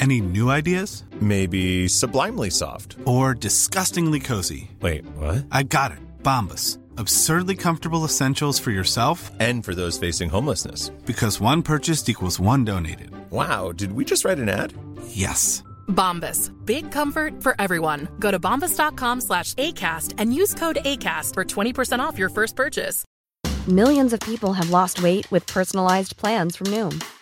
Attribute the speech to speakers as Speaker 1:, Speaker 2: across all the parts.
Speaker 1: Any new ideas?
Speaker 2: Maybe sublimely soft.
Speaker 1: Or disgustingly cozy?
Speaker 2: Wait, what?
Speaker 1: I got it. Bombus. Absurdly comfortable essentials for yourself
Speaker 2: And for those facing homelessness.
Speaker 1: because one purchased equals one donated.
Speaker 2: Wow, did we just write an ad?
Speaker 1: Yes.
Speaker 3: Bombas. Big comfort for everyone. Go to bombas.com slash ACAST and use code ACAST for 20% off your first purchase.
Speaker 4: Millions of people have lost weight with personalized plans from Noom,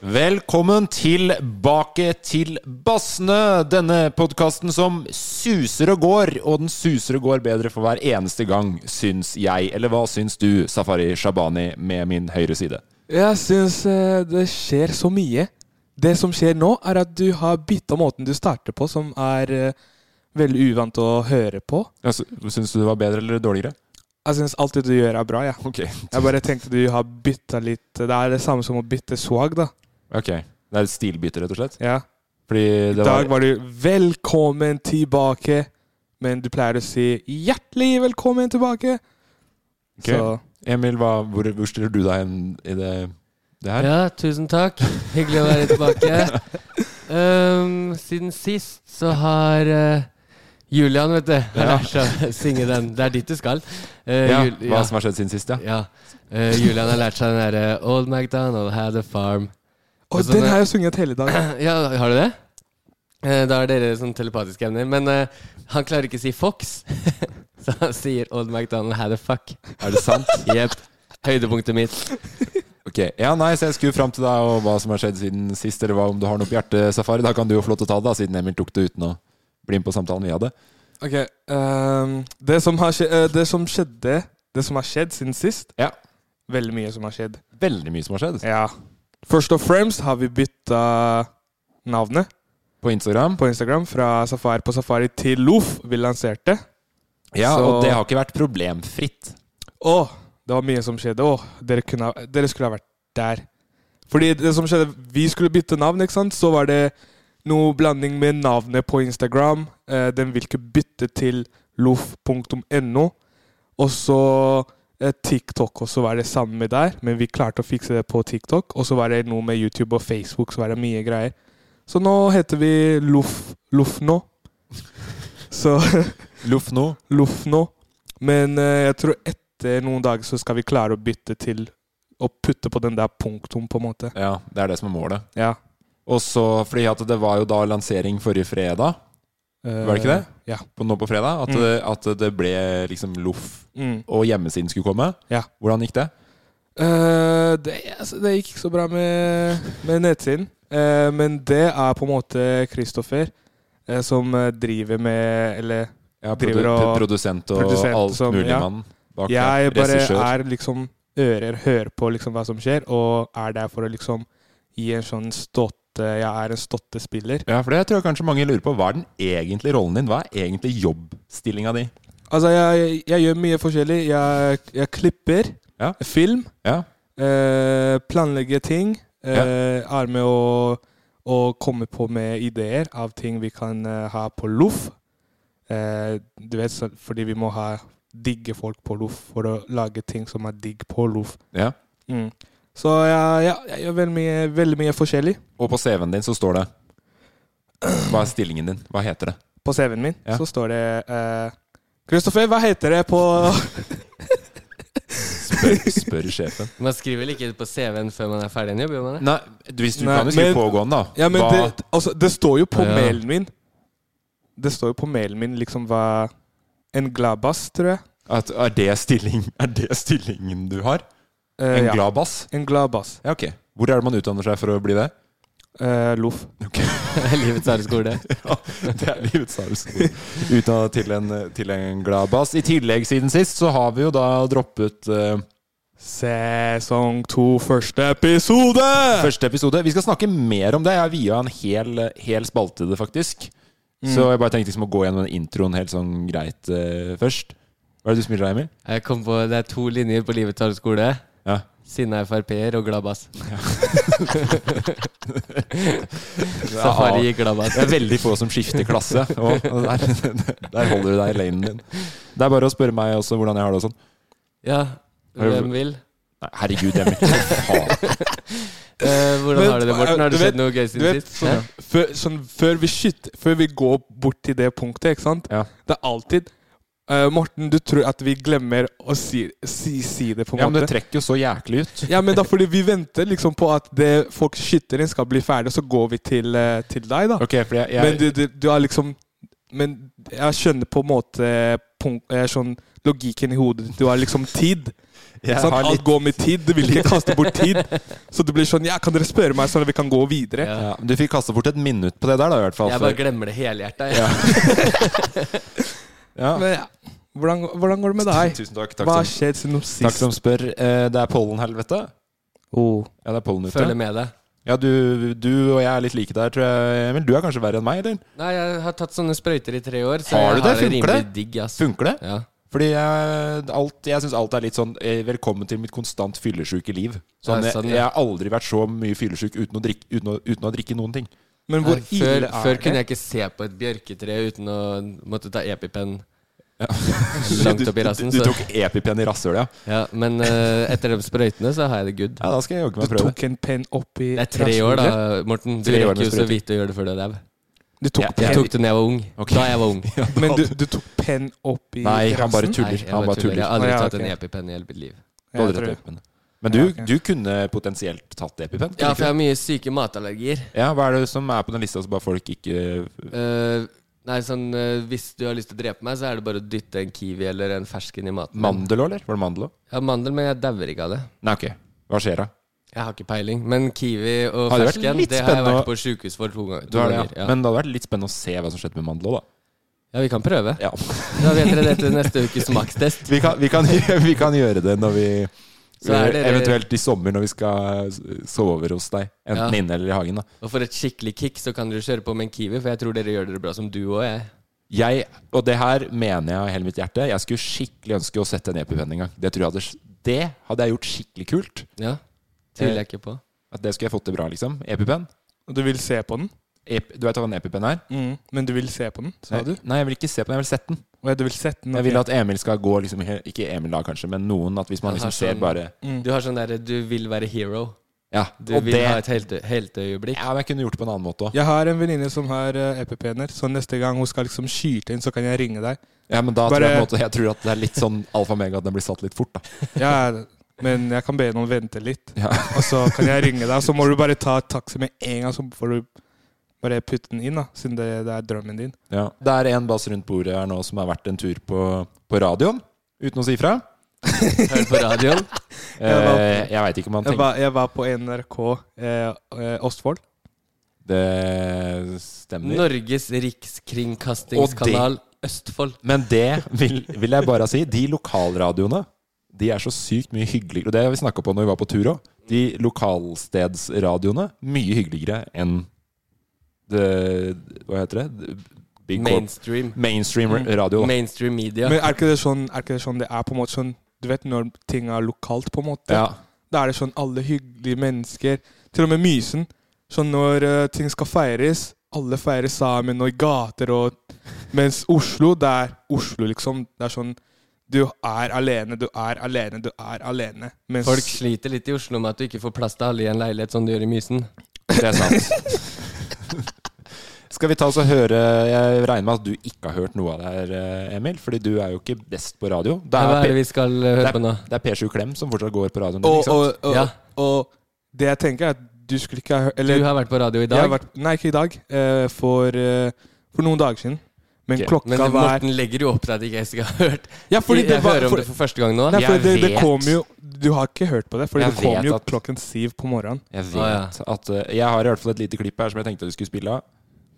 Speaker 5: Velkommen tilbake til Bassene, denne podkasten som suser og går, og den suser og går bedre for hver eneste gang, syns jeg. Eller hva syns du, Safari Shabani, med min høyre side?
Speaker 6: Jeg syns eh, det skjer så mye. Det som skjer nå, er at du har bytta måten du starter på, som er eh, veldig uvant å høre på.
Speaker 5: Altså, syns du det var bedre eller dårligere?
Speaker 6: Jeg syns alt det du gjør, er bra. Ja.
Speaker 5: Ok.
Speaker 6: Jeg bare tenkte du har bytta litt Det er det samme som å bytte swag, da.
Speaker 5: ok. Det er et stilbytte, rett og slett?
Speaker 6: Ja.
Speaker 5: Fordi
Speaker 6: I
Speaker 5: det
Speaker 6: dag
Speaker 5: var
Speaker 6: var du 'velkommen tilbake', men du pleier å si 'hjertelig velkommen tilbake'.
Speaker 5: Ok. Emil, hva, hvor, hvor stiller du deg hen i det, det her?
Speaker 7: Ja, tusen takk. Hyggelig å være tilbake. Ehm, siden sist så har eh, Julian, vet du Han
Speaker 5: Ja.
Speaker 7: er så- synge den. Det er dit du skal. Eh,
Speaker 5: Ja,
Speaker 7: Jul-
Speaker 5: hva som har skjedd siden sist, ja.
Speaker 7: ja. Eh, Julian har lært seg den derre Old MacDonald had a farm.
Speaker 6: Og
Speaker 7: sånn
Speaker 6: den
Speaker 7: er-
Speaker 6: har jeg sunget hele dagen.
Speaker 7: Ja, har du det? Eh, Da har dere sånn telepatiske evner. Men eh, han klarer ikke å si Fox, så han sier Old MacDonald had a fuck.
Speaker 5: Er det sant?
Speaker 7: Jepp.
Speaker 8: høydepunktet mitt.
Speaker 5: Ok, ja nei, Så jeg skulle fram til deg og hva som har skjedd siden sist, eller hva, om du har noe på hjertet, Safari. Da kan du jo få lov til å ta det, da, siden Emil tok det uten å bli med på samtalen vi hadde.
Speaker 4: Ok, ehm, det, som har skje, eh, det som skjedde Det som har skjedd siden sist Veldig mye som har skjedd
Speaker 5: Veldig mye som har skjedd
Speaker 4: Ja Først og fremst har vi byttet navnet
Speaker 5: På Instagram
Speaker 4: På Instagram Fra Safari på Safari til Lof Vi lanserte
Speaker 5: Ja, og det har ikke vært problemfritt
Speaker 4: Åh, det var mye som skjedde Åh, dere, kunne, ha- dere skulle ha vært der Fordi det som skjedde Vi skulle bytte navn, ikke sant? Så var det noe blanding med navnet på Instagram eh, Den vil ikke bytte til lof.no Og så eh, TikTok også var det samme der Men vi klarte å fikse det på TikTok Og så var det noe med YouTube og Facebook Så var det mye greier Så nå heter vi Lof, Lof nå så
Speaker 5: Lofno.
Speaker 4: Lofno. Men eh, jeg tror etter noen dager så skal vi klare å bytte til å putte på den der punktum, på en måte.
Speaker 5: Ja, det er det som er målet.
Speaker 4: Ja.
Speaker 5: Og så, fordi at det var jo da lansering forrige fredag, var det ikke det?
Speaker 4: Eh, ja.
Speaker 5: På, nå på fredag? At,
Speaker 4: Mm.
Speaker 5: det- at det ble liksom loff,
Speaker 4: Mm.
Speaker 5: og hjemmesiden skulle komme.
Speaker 4: Ja.
Speaker 5: Hvordan gikk det?
Speaker 4: Eh, det, altså, det gikk ikke så bra med, med nettsiden. Eh, men det er på en måte Kristoffer eh, som eh, driver med Eller
Speaker 5: Ja, produ- produsent og alt mulig mann bak der.
Speaker 4: Jeg bare
Speaker 5: Regissør.
Speaker 4: er liksom ører, hører på liksom hva som skjer, og er der for å liksom gi en sånn ståtte Jeg er en ståtte spiller.
Speaker 5: Ja, for det tror jeg kanskje mange lurer på. Hva er den egentlige rollen din? Hva er egentlig jobbstillinga di?
Speaker 4: Altså, jeg, jeg gjør mye forskjellig. Jeg, jeg klipper film. Eh, planlegger ting. Eh, Er med å, å komme på med ideer av ting vi kan eh, ha på loff. Eh, du vet, så, fordi vi må ha digge folk på loff for å lage ting som er digg på loff.
Speaker 5: Ja.
Speaker 4: Mm. Så jeg, ja, jeg gjør veldig mye, veldig mye forskjellig.
Speaker 5: Og på CV-en din så står det Hva er stillingen din? Hva heter det?
Speaker 4: På CV-en min
Speaker 5: Ja.
Speaker 4: så står det eh, Kristoffer, hva heter det på
Speaker 5: Spør, spør sjefen.
Speaker 8: Man skriver vel ikke det på CV-en før man er ferdig i en jobb? gjør man det?
Speaker 5: Nei, hvis du
Speaker 4: Nei,
Speaker 5: kan jo skrive
Speaker 4: men-
Speaker 5: pågående, da.
Speaker 4: Ja, men
Speaker 5: Hva-
Speaker 4: det, altså, det står jo på
Speaker 5: Ja.
Speaker 4: mailen min. Det står jo på mailen min liksom hva En glabass, tror jeg.
Speaker 5: At, er, det stilling, er det stillingen du har?
Speaker 4: Eh,
Speaker 5: en
Speaker 4: ja.
Speaker 5: glad bass?
Speaker 4: En glad bass.
Speaker 5: Ja, ok. Hvor er det man utdanner seg for å bli det?
Speaker 4: Loff.
Speaker 8: livets arbeidsskole.
Speaker 5: ja, det er livets arbeidsskole. Utdanna til, en- til en glad bass. I tillegg, siden sist, så har vi jo da droppet eh,
Speaker 4: Sesong to, første episode!
Speaker 5: Første episode. Vi skal snakke mer om det. Jeg har via en hel, hel spalte til det, faktisk.
Speaker 8: Mm.
Speaker 5: Så jeg bare tenkte liksom å gå gjennom den introen helt sånn greit eh, først. Hva er det du smiler av, Emil?
Speaker 8: Jeg kom på, Det er to linjer på livets arbeidsskole.
Speaker 5: Ja.
Speaker 8: Sinna Frp-er og glad bass.
Speaker 5: Ja,
Speaker 8: Safari gikk glad bass.
Speaker 5: Det er veldig få som skifter klasse. Og der, der holder du deg i lanen din. Det er bare å spørre meg også hvordan jeg har det og sånn.
Speaker 8: Ja,
Speaker 5: Har du-
Speaker 8: hvem vil?
Speaker 5: Nei, herregud, Emil. Faen.
Speaker 8: Eh, hvordan har du det, Morten? Har det skjedd noe gøy
Speaker 4: du
Speaker 8: siden
Speaker 4: vet,
Speaker 8: sist?
Speaker 4: Sånn, før, sånn, før, vi skyt- før vi går bort til det punktet, ikke sant? Det er alltid eh, Morten, du tror at vi glemmer å si, si, si det, på en
Speaker 5: Ja, men
Speaker 4: måte.
Speaker 5: det trekker jo så jæklig ut.
Speaker 4: Ja, men da fordi vi venter liksom på at det folk skytter inn, skal bli ferdig, og så går vi til, eh, til deg, da.
Speaker 5: Ok, fordi jeg- jeg-
Speaker 4: Men du, du, du har liksom Men jeg skjønner på en måte punkt, eh, sånn logikken i hodet. Du har liksom tid.
Speaker 5: Jeg
Speaker 4: sant?
Speaker 5: har litt-
Speaker 4: Alt går med tid. Du vil ikke kaste bort tid. Så det blir sånn Ja, kan dere spørre meg, sånn at vi kan gå videre?
Speaker 5: Ja, men du fikk kasta bort et minutt på det der, da, i hvert fall.
Speaker 8: Jeg
Speaker 5: for-
Speaker 8: bare glemmer det helhjerta.
Speaker 5: Ja. Ja.
Speaker 4: Men ja. Hvordan, hvordan går det med deg?
Speaker 5: Tusen takk, takk
Speaker 4: Hva har
Speaker 5: som-
Speaker 4: skjedd siden sist?
Speaker 5: Takk som spør. Eh, Det er pollenhelvete. Ja, det er pollen ute.
Speaker 8: Følger Oh, med deg.
Speaker 5: Ja, du, du og jeg er litt like der, tror jeg. Emil, du er kanskje verre enn meg, eller?
Speaker 8: Nei, jeg har tatt sånne sprøyter i tre år. Så
Speaker 5: Har du
Speaker 8: jeg
Speaker 5: det?
Speaker 8: har
Speaker 5: Funker det?
Speaker 8: rimelig digg, ass.
Speaker 5: Funker det?
Speaker 8: Ja.
Speaker 5: Fordi jeg, alt, jeg syns alt er litt sånn eh, Velkommen til mitt konstant fyllesyke liv. Sånn,
Speaker 8: Ja,
Speaker 5: jeg,
Speaker 8: sånn, ja.
Speaker 5: jeg har aldri vært så mye fyllesyk uten, å drikke- uten, å- uten å drikke noen ting.
Speaker 4: Men
Speaker 8: Nei, før, før kunne jeg ikke se på et bjørketre uten å måtte ta EpiPen langt opp i rassen.
Speaker 5: Du, du,
Speaker 8: så-
Speaker 5: du tok EpiPen i rasshølet, ja.
Speaker 8: Ja, men eh, etter de sprøytene så har jeg det good.
Speaker 5: Ja, da skal jeg jogge meg
Speaker 4: Du
Speaker 5: prøve.
Speaker 4: tok en penn opp i
Speaker 8: Det er tre år, da, Morten. Du
Speaker 5: Tre år med
Speaker 8: rekker jo så
Speaker 5: sprøyter.
Speaker 8: vidt å gjøre det før du er dau.
Speaker 4: Du tok
Speaker 8: Jeg- jeg
Speaker 4: penn-
Speaker 8: tok det da jeg var ung. Da jeg var ung.
Speaker 4: Men du, du tok penn opp i
Speaker 5: Nei, han bare
Speaker 4: rassen?
Speaker 5: tuller.
Speaker 8: Nei, jeg
Speaker 5: han
Speaker 8: bare
Speaker 5: bare
Speaker 8: tuller.
Speaker 5: tuller.
Speaker 8: Jeg har aldri
Speaker 5: Å, ja,
Speaker 8: tatt en E
Speaker 5: ok.
Speaker 8: EpiPen i hele mitt liv.
Speaker 5: Du har aldri
Speaker 4: Ja, jeg
Speaker 5: tatt
Speaker 4: tror
Speaker 5: EpiPen. Men du, du kunne potensielt tatt EpiPen?
Speaker 8: Ja,
Speaker 5: kunne
Speaker 8: for jeg
Speaker 5: ikke
Speaker 8: har mye syke matallergier.
Speaker 5: du? ja, Hva er det som er på den lista som bare folk ikke
Speaker 8: Eh,
Speaker 4: Nei, sånn eh, Hvis du har lyst til å drepe meg, så er det bare å dytte en kiwi eller en fersk inn i maten.
Speaker 5: Mandel òg, eller? Var det mandel òg?
Speaker 4: Ja, mandel, men jeg dauer ikke av det.
Speaker 5: Nei, ok. Hva skjer da?
Speaker 4: Jeg har ikke peiling. Men kiwi og
Speaker 5: Hadde vært
Speaker 4: fersken,
Speaker 5: litt
Speaker 4: det har jeg
Speaker 5: spennende å-
Speaker 4: vært på sjukehus for to ganger.
Speaker 5: Du
Speaker 4: To
Speaker 5: har det,
Speaker 4: ganger
Speaker 5: ja. Men det hadde vært litt spennende å se hva som skjedde med mandel òg, da.
Speaker 4: Ja, vi kan prøve.
Speaker 5: Ja.
Speaker 4: Da vet dere det til neste ukes makstest.
Speaker 5: Vi kan, vi kan, gjø- vi kan gjøre det når vi
Speaker 4: Så er dere-
Speaker 5: Eventuelt i sommer når vi skal sove over hos deg. Enten
Speaker 4: Ja.
Speaker 5: inne eller i hagen. da
Speaker 4: Og for et skikkelig kick så kan dere kjøre på med en kiwi, for jeg tror dere gjør dere bra som du og jeg.
Speaker 5: Jeg, og det her mener jeg av hele mitt hjerte, jeg skulle skikkelig ønske å sette en EpiPen en gang. Det, tror jeg hadde, det hadde jeg gjort skikkelig kult.
Speaker 4: Ja, tviler jeg ikke på.
Speaker 5: At det skulle jeg fått til bra, liksom. EpiPen.
Speaker 6: Du vil se på den?
Speaker 5: E du vet hva en EpiPen er?
Speaker 6: Mm, men du vil se på den, sa
Speaker 5: Nei,
Speaker 6: du?
Speaker 5: Nei, jeg vil ikke se på den, jeg vil sette den.
Speaker 6: Å ja, du vil sette den?
Speaker 5: Jeg vil
Speaker 6: ok.
Speaker 5: at Emil skal gå liksom, he- Ikke Emil da, kanskje, men noen. At hvis man
Speaker 4: Han har
Speaker 5: liksom ser
Speaker 4: sånn-
Speaker 5: bare
Speaker 4: Du har sånn derre du vil være hero.
Speaker 5: Ja,
Speaker 4: Du
Speaker 5: og
Speaker 4: vil
Speaker 5: det-
Speaker 4: ha et helte- helteøyeblikk.
Speaker 5: Ja, men jeg kunne gjort det på en annen måte òg.
Speaker 6: Jeg har en venninne som har eh, EPP-ener, så neste gang hun skal liksom skyte inn, så kan jeg ringe deg.
Speaker 5: Ja, men da
Speaker 6: Bare-
Speaker 5: tror jeg, på en måte, jeg tror at det er litt sånn alfa mega at den blir satt litt fort, da.
Speaker 6: Ja, men jeg kan be noen vente litt, og så kan jeg ringe deg. Så må du bare ta taxi med en gang, så får du bare putte den inn, da, siden det, det er drømmen din.
Speaker 5: Ja. Det er en bass rundt bordet her nå som har vært en tur på, på radioen, uten å si fra.
Speaker 4: Hør på radioen.
Speaker 5: Eh, jeg veit ikke om han
Speaker 6: Jeg
Speaker 5: tenker
Speaker 6: var, jeg var på NRK eh, eh, Østfold.
Speaker 5: Det stemmer.
Speaker 4: Norges rikskringkastingskanal Østfold.
Speaker 5: Men det vil, vil jeg bare si. De lokalradioene de er så sykt mye hyggeligere. Og det har vi snakka på når vi var på tur òg. De lokalstedsradioene mye hyggeligere enn det Hva heter det? Big Corp-
Speaker 4: Mainstream.
Speaker 5: Mainstream radio. da.
Speaker 4: Mm. Mainstream media.
Speaker 6: Men er ikke, det sånn, er ikke det sånn det er på en måte sånn Du vet når ting er lokalt, på en måte?
Speaker 5: Ja.
Speaker 6: Da er det sånn alle hyggelige mennesker. Til og med Mysen. Sånn når eh, ting skal feires, alle feirer sammen og i gater og Mens Oslo, det er Oslo, liksom. Det er sånn Du er alene, du er alene, du er alene. Mens
Speaker 4: Folk sliter litt i Oslo med at du ikke får plass til alle i en leilighet som du gjør i Mysen.
Speaker 5: Det er sant. Skal vi ta oss og høre Jeg regner med at du ikke har hørt noe av det her, eh, Emil. Fordi du er jo ikke best på radio. Det
Speaker 4: Hva er
Speaker 5: P-
Speaker 4: det vi skal eh, høre
Speaker 5: det er,
Speaker 4: på nå?
Speaker 5: Det er P7 Klem som fortsatt går på radioen. din,
Speaker 6: Og,
Speaker 5: ikke sant?
Speaker 6: og, og,
Speaker 4: Ja.
Speaker 6: og det jeg tenker, er at du skulle ikke ha hørt
Speaker 4: Du har vært på radio i dag,
Speaker 6: Jeg har vært, nei, ikke i dag. eh, for, eh, for noen dager siden. Men
Speaker 5: Ok.
Speaker 6: klokka
Speaker 4: men
Speaker 6: var
Speaker 4: Morten legger jo opp til at ikke jeg skal ha hørt.
Speaker 6: Ja, fordi
Speaker 4: jeg
Speaker 6: det var-
Speaker 4: hører om
Speaker 6: for-
Speaker 4: det for første gang nå.
Speaker 6: Nei, for
Speaker 5: Jeg
Speaker 6: det, det
Speaker 5: vet.
Speaker 6: kom jo Du har ikke hørt på det, for det
Speaker 5: Jeg
Speaker 6: kom
Speaker 5: vet
Speaker 6: jo
Speaker 5: at-
Speaker 6: klokken syv på morgenen.
Speaker 5: Jeg vet
Speaker 4: Ah,
Speaker 5: at eh, Jeg har i hvert fall et lite klipp her som jeg tenkte du skulle spille av.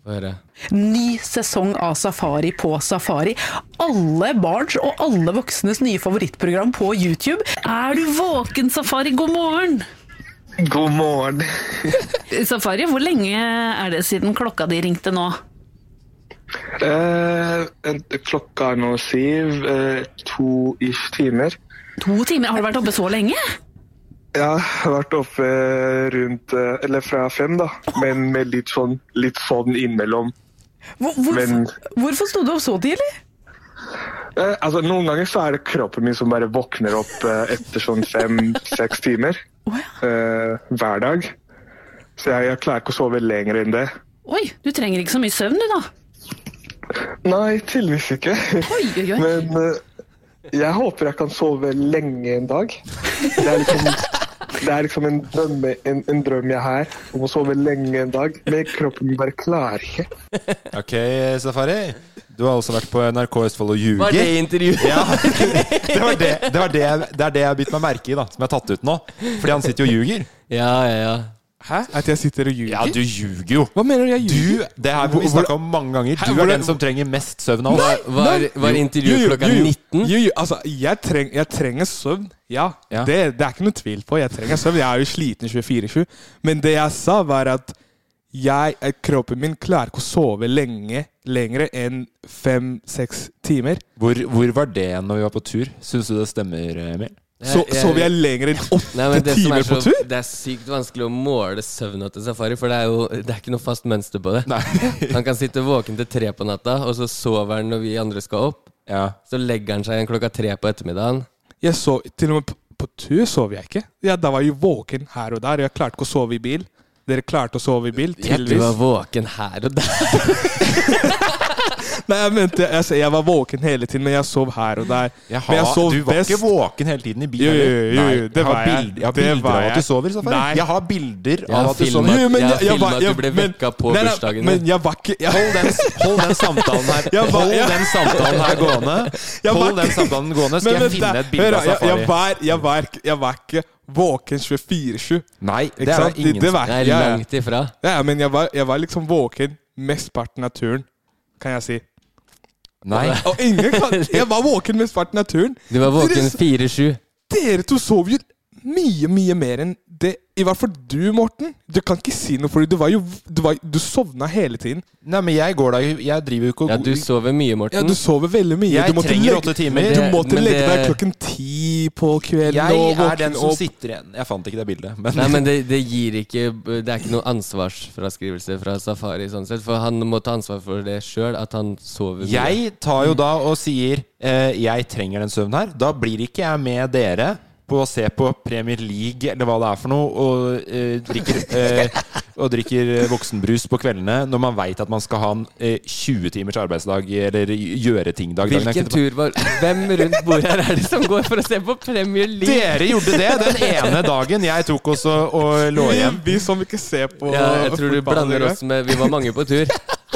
Speaker 4: Få høre.
Speaker 9: Ny sesong av Safari på Safari. Alle barns og alle voksnes nye favorittprogram på YouTube. Er du våken, Safari? God morgen!
Speaker 10: God morgen.
Speaker 9: Safari, hvor lenge er det siden klokka di ringte nå?
Speaker 10: Eh, klokka er nå syv. eh, to ish timer.
Speaker 9: To timer? Har du vært oppe så lenge?
Speaker 10: Jeg har vært oppe rundt eh, Eller fra fem, da. Men med litt sånn, litt sånn innimellom.
Speaker 9: Hvor, hvorfor,
Speaker 10: Men-
Speaker 9: hvorfor sto du opp så tidlig?
Speaker 10: Eh, altså, noen ganger så er det kroppen min som bare våkner opp eh, etter sånn fem-seks timer. Eh, hver dag. Så jeg, jeg klarer ikke å sove lenger enn det.
Speaker 9: Oi, du trenger ikke så mye søvn du, da.
Speaker 10: Nei, tydeligvis ikke.
Speaker 9: Oi, oi, oi.
Speaker 10: Men eh, jeg håper jeg kan sove lenge en dag. Det er liksom, det er liksom en, drømme, en, en drøm jeg har, om å sove lenge en dag. Men kroppen min bare klarer ikke.
Speaker 5: Ok, Safari. Du har også vært på NRK Østfold og ljuger.
Speaker 4: Var det intervjuet?
Speaker 5: Ja, det, var det, det, var det, jeg- det er det jeg har bitt meg merke i, da som jeg har tatt ut nå. Fordi han sitter jo og ljuger.
Speaker 4: Ja, ja, ja.
Speaker 6: Hæ? At jeg sitter og ljuger?
Speaker 5: Ja, du ljuger jo.
Speaker 6: Hva mener du jeg ljuger?
Speaker 5: Du, det her har vi
Speaker 6: Hvor-
Speaker 5: snakket om mange ganger.
Speaker 6: Hæ,
Speaker 5: Du er
Speaker 6: hvordan-
Speaker 5: den som trenger mest søvn av
Speaker 4: Var,
Speaker 5: oss.
Speaker 4: var, var
Speaker 6: Jo,
Speaker 4: intervjuet
Speaker 6: jo,
Speaker 4: klokka
Speaker 6: jo, jo.
Speaker 4: 19?
Speaker 6: Jo, jo, altså, jeg, treng, jeg trenger søvn. Ja,
Speaker 5: Ja.
Speaker 6: Det, det er ikke noe tvil på. Jeg trenger søvn. Jeg er jo sliten 24-7. Men det jeg sa, var at jeg, at kroppen min klarer ikke å sove lenge lenger enn fem-seks timer.
Speaker 5: Hvor, hvor var det når vi var på tur? Syns du det stemmer, Emil?
Speaker 6: Så
Speaker 4: Jeg- jeg-
Speaker 6: sover jeg lenger enn
Speaker 4: Nei,
Speaker 6: åtte
Speaker 4: men det, som
Speaker 6: timer
Speaker 4: er så,
Speaker 6: på tur?
Speaker 4: det er sykt vanskelig å måle søvna til Safari, for det er jo det er ikke noe fast mønster på det. Han kan sitte våken til tre på natta, og så sover han når vi andre skal opp.
Speaker 5: Ja.
Speaker 4: Så legger han seg igjen klokka tre på ettermiddagen.
Speaker 6: Jeg sov, til og med på, på tur sov jeg ikke. Ja, da var jeg jo våken her og der. Jeg klarte ikke å sove i bil. Dere klarte å sove i bil?
Speaker 4: Ja, du var våken her og der.
Speaker 6: Nei, jeg mente jeg, jeg var våken hele tiden, men jeg sov her og der.
Speaker 5: Jaha,
Speaker 6: men jeg sov
Speaker 5: du var ikke våken hele tiden i bil,
Speaker 6: Jo, jo,
Speaker 5: eller?
Speaker 6: jo,
Speaker 5: Nei,
Speaker 6: jo,
Speaker 5: jeg
Speaker 6: det
Speaker 5: har
Speaker 6: var jeg.
Speaker 5: bild- jeg har
Speaker 6: Det
Speaker 5: bilder
Speaker 6: var
Speaker 5: av at du sover, Safari.
Speaker 6: Nei.
Speaker 5: Jeg har bilder
Speaker 6: Jeg
Speaker 5: av
Speaker 6: har
Speaker 5: at du
Speaker 6: filmet-
Speaker 5: sover.
Speaker 6: Jo, men
Speaker 5: Jeg har
Speaker 6: jeg- jeg var-
Speaker 5: filmet at du
Speaker 6: jeg-
Speaker 5: ble
Speaker 6: men-
Speaker 5: vekka på
Speaker 6: Nei, nei,
Speaker 5: bursdagen din.
Speaker 6: Men jeg var ikke jeg-
Speaker 5: Hold den, hold den samtalen her
Speaker 6: Jeg var-
Speaker 5: Hold
Speaker 6: jeg-
Speaker 5: den samtalen her gående.
Speaker 6: Jeg var
Speaker 5: Hold den
Speaker 6: ikke-
Speaker 5: samtalen gående,
Speaker 6: Men
Speaker 5: skal jeg
Speaker 6: vent
Speaker 5: finne
Speaker 6: da,
Speaker 5: et bilde
Speaker 6: hør da,
Speaker 5: av
Speaker 6: jeg-
Speaker 5: Safari.
Speaker 6: Jeg var, jeg var, ikke- jeg var ikke våken 24-7.
Speaker 5: Nei,
Speaker 4: det er det ingen som- det er langt ifra.
Speaker 6: Ja, ja, men jeg var, jeg var liksom våken mesteparten av turen, kan jeg si.
Speaker 5: Nei.
Speaker 6: Og ingen kan Jeg var våken mesteparten av turen.
Speaker 4: Du var våken 4-7.
Speaker 6: Dere to sov jo mye, mye mer enn det. I hvert fall du, Morten. Du kan ikke si noe, fordi du var jo Du, var, du sovna hele tiden.
Speaker 5: Nei, men jeg går da Jeg driver jo ikke
Speaker 4: Ja, du sover mye, Morten.
Speaker 6: Ja, du sover veldig mye.
Speaker 5: Jeg
Speaker 6: du måtte
Speaker 5: trenger
Speaker 6: legge-
Speaker 5: åtte timer.
Speaker 6: Du
Speaker 5: Men det-
Speaker 6: måtte
Speaker 5: men
Speaker 6: legge deg
Speaker 5: det-
Speaker 6: klokken ti på kvelden og
Speaker 5: Jeg
Speaker 6: våkne
Speaker 5: er den som
Speaker 6: opp.
Speaker 5: sitter igjen. Jeg fant ikke det bildet.
Speaker 4: Nei, men det, det gir ikke Det er ikke noe ansvarsfraskrivelse fra Safari, sånn sett. For han må ta ansvar for det sjøl, at han sover mye.
Speaker 5: Jeg tar jo da og sier eh, jeg trenger den søvnen her. Da blir ikke jeg med dere på å se på Premier League eller hva det er for noe, og eh, drikker, eh, og drikker eh, voksenbrus på kveldene når man veit at man skal ha en eh, 20 timers arbeidsdag eller gjøre-ting-dag. dagen
Speaker 4: Hvilken
Speaker 5: etterpå.
Speaker 4: tur var Hvem rundt bordet her er det som går for å se på Premier League?
Speaker 5: Dere gjorde det den ene dagen jeg tok også og lå igjen.
Speaker 6: Vi som ikke ser på
Speaker 4: Ja, jeg tror du blander oss med Vi var mange på tur.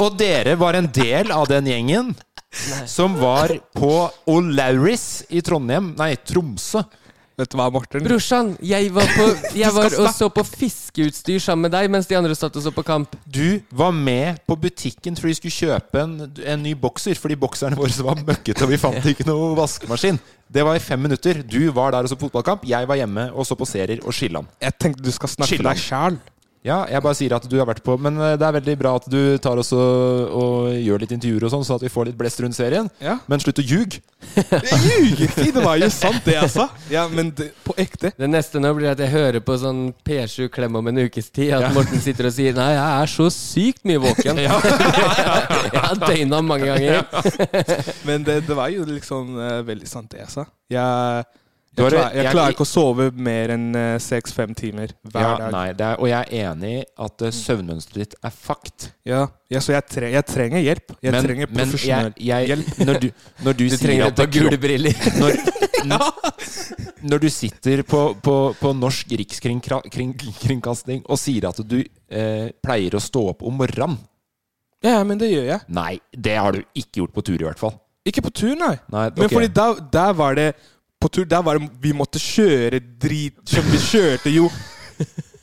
Speaker 5: Og dere var en del av den gjengen som var på O'Larris i Trondheim, nei, Tromsø.
Speaker 6: Vet du hva, Morten?
Speaker 4: Brorsan, jeg var, på, jeg
Speaker 5: Du skal
Speaker 4: var og
Speaker 5: snakke-
Speaker 4: så på fiskeutstyr sammen med deg, mens de andre satt og så på kamp.
Speaker 5: Du var med på butikken fordi vi skulle kjøpe en, en ny bokser, fordi bokserne våre var møkkete, og vi fant ikke noe vaskemaskin. Det var i fem minutter. Du var der og så på fotballkamp, jeg var hjemme og så på serier og Skilland.
Speaker 6: Jeg tenkte du skal snakke for deg sjæl.
Speaker 5: Ja, jeg bare sier at du har vært på Men eh, det er veldig bra at du tar oss og, og gjør litt intervjuer og sånn, så at vi får litt blest rundt serien.
Speaker 6: Ja.
Speaker 5: Men slutt å ljuge.
Speaker 6: Egentlig, det var jo sant, det jeg sa. Ja, men det, på ekte.
Speaker 4: Det neste nå blir at jeg hører på sånn P7 Klem om en ukes tid, at Morten sitter og sier 'Nei, jeg er så sykt mye våken'. jeg har døgna mange ganger.
Speaker 6: Men det, det var jo liksom eh, veldig sant, det jeg sa. Jeg,
Speaker 5: Du
Speaker 6: jeg,
Speaker 5: har-
Speaker 6: klar, jeg
Speaker 5: jeg-
Speaker 6: klarer ikke å sove mer enn eh, seks-fem timer hver
Speaker 5: Ja,
Speaker 6: dag.
Speaker 5: nei, det er, og jeg er enig i at eh, søvnmønsteret ditt er fucked.
Speaker 6: Ja, ja, så jeg, tre, jeg trenger hjelp. Jeg trenger profesjonell
Speaker 5: jeg- jeg-
Speaker 6: hjelp.
Speaker 5: Når du, når du,
Speaker 4: Du
Speaker 5: sier
Speaker 4: trenger
Speaker 5: at
Speaker 4: et par
Speaker 5: kropp-
Speaker 4: gule briller.
Speaker 5: Når, når du sitter på, på, på norsk rikskringkasting og sier at du eh, pleier å stå opp om morgenen
Speaker 6: Ja, men det gjør jeg.
Speaker 5: Nei, det har du ikke gjort på tur, i hvert fall.
Speaker 6: Ikke på tur, nei.
Speaker 5: Nei,
Speaker 6: Men
Speaker 5: ok.
Speaker 6: fordi da, der var det På tur, der var det Vi måtte kjøre drit som Vi kjørte jo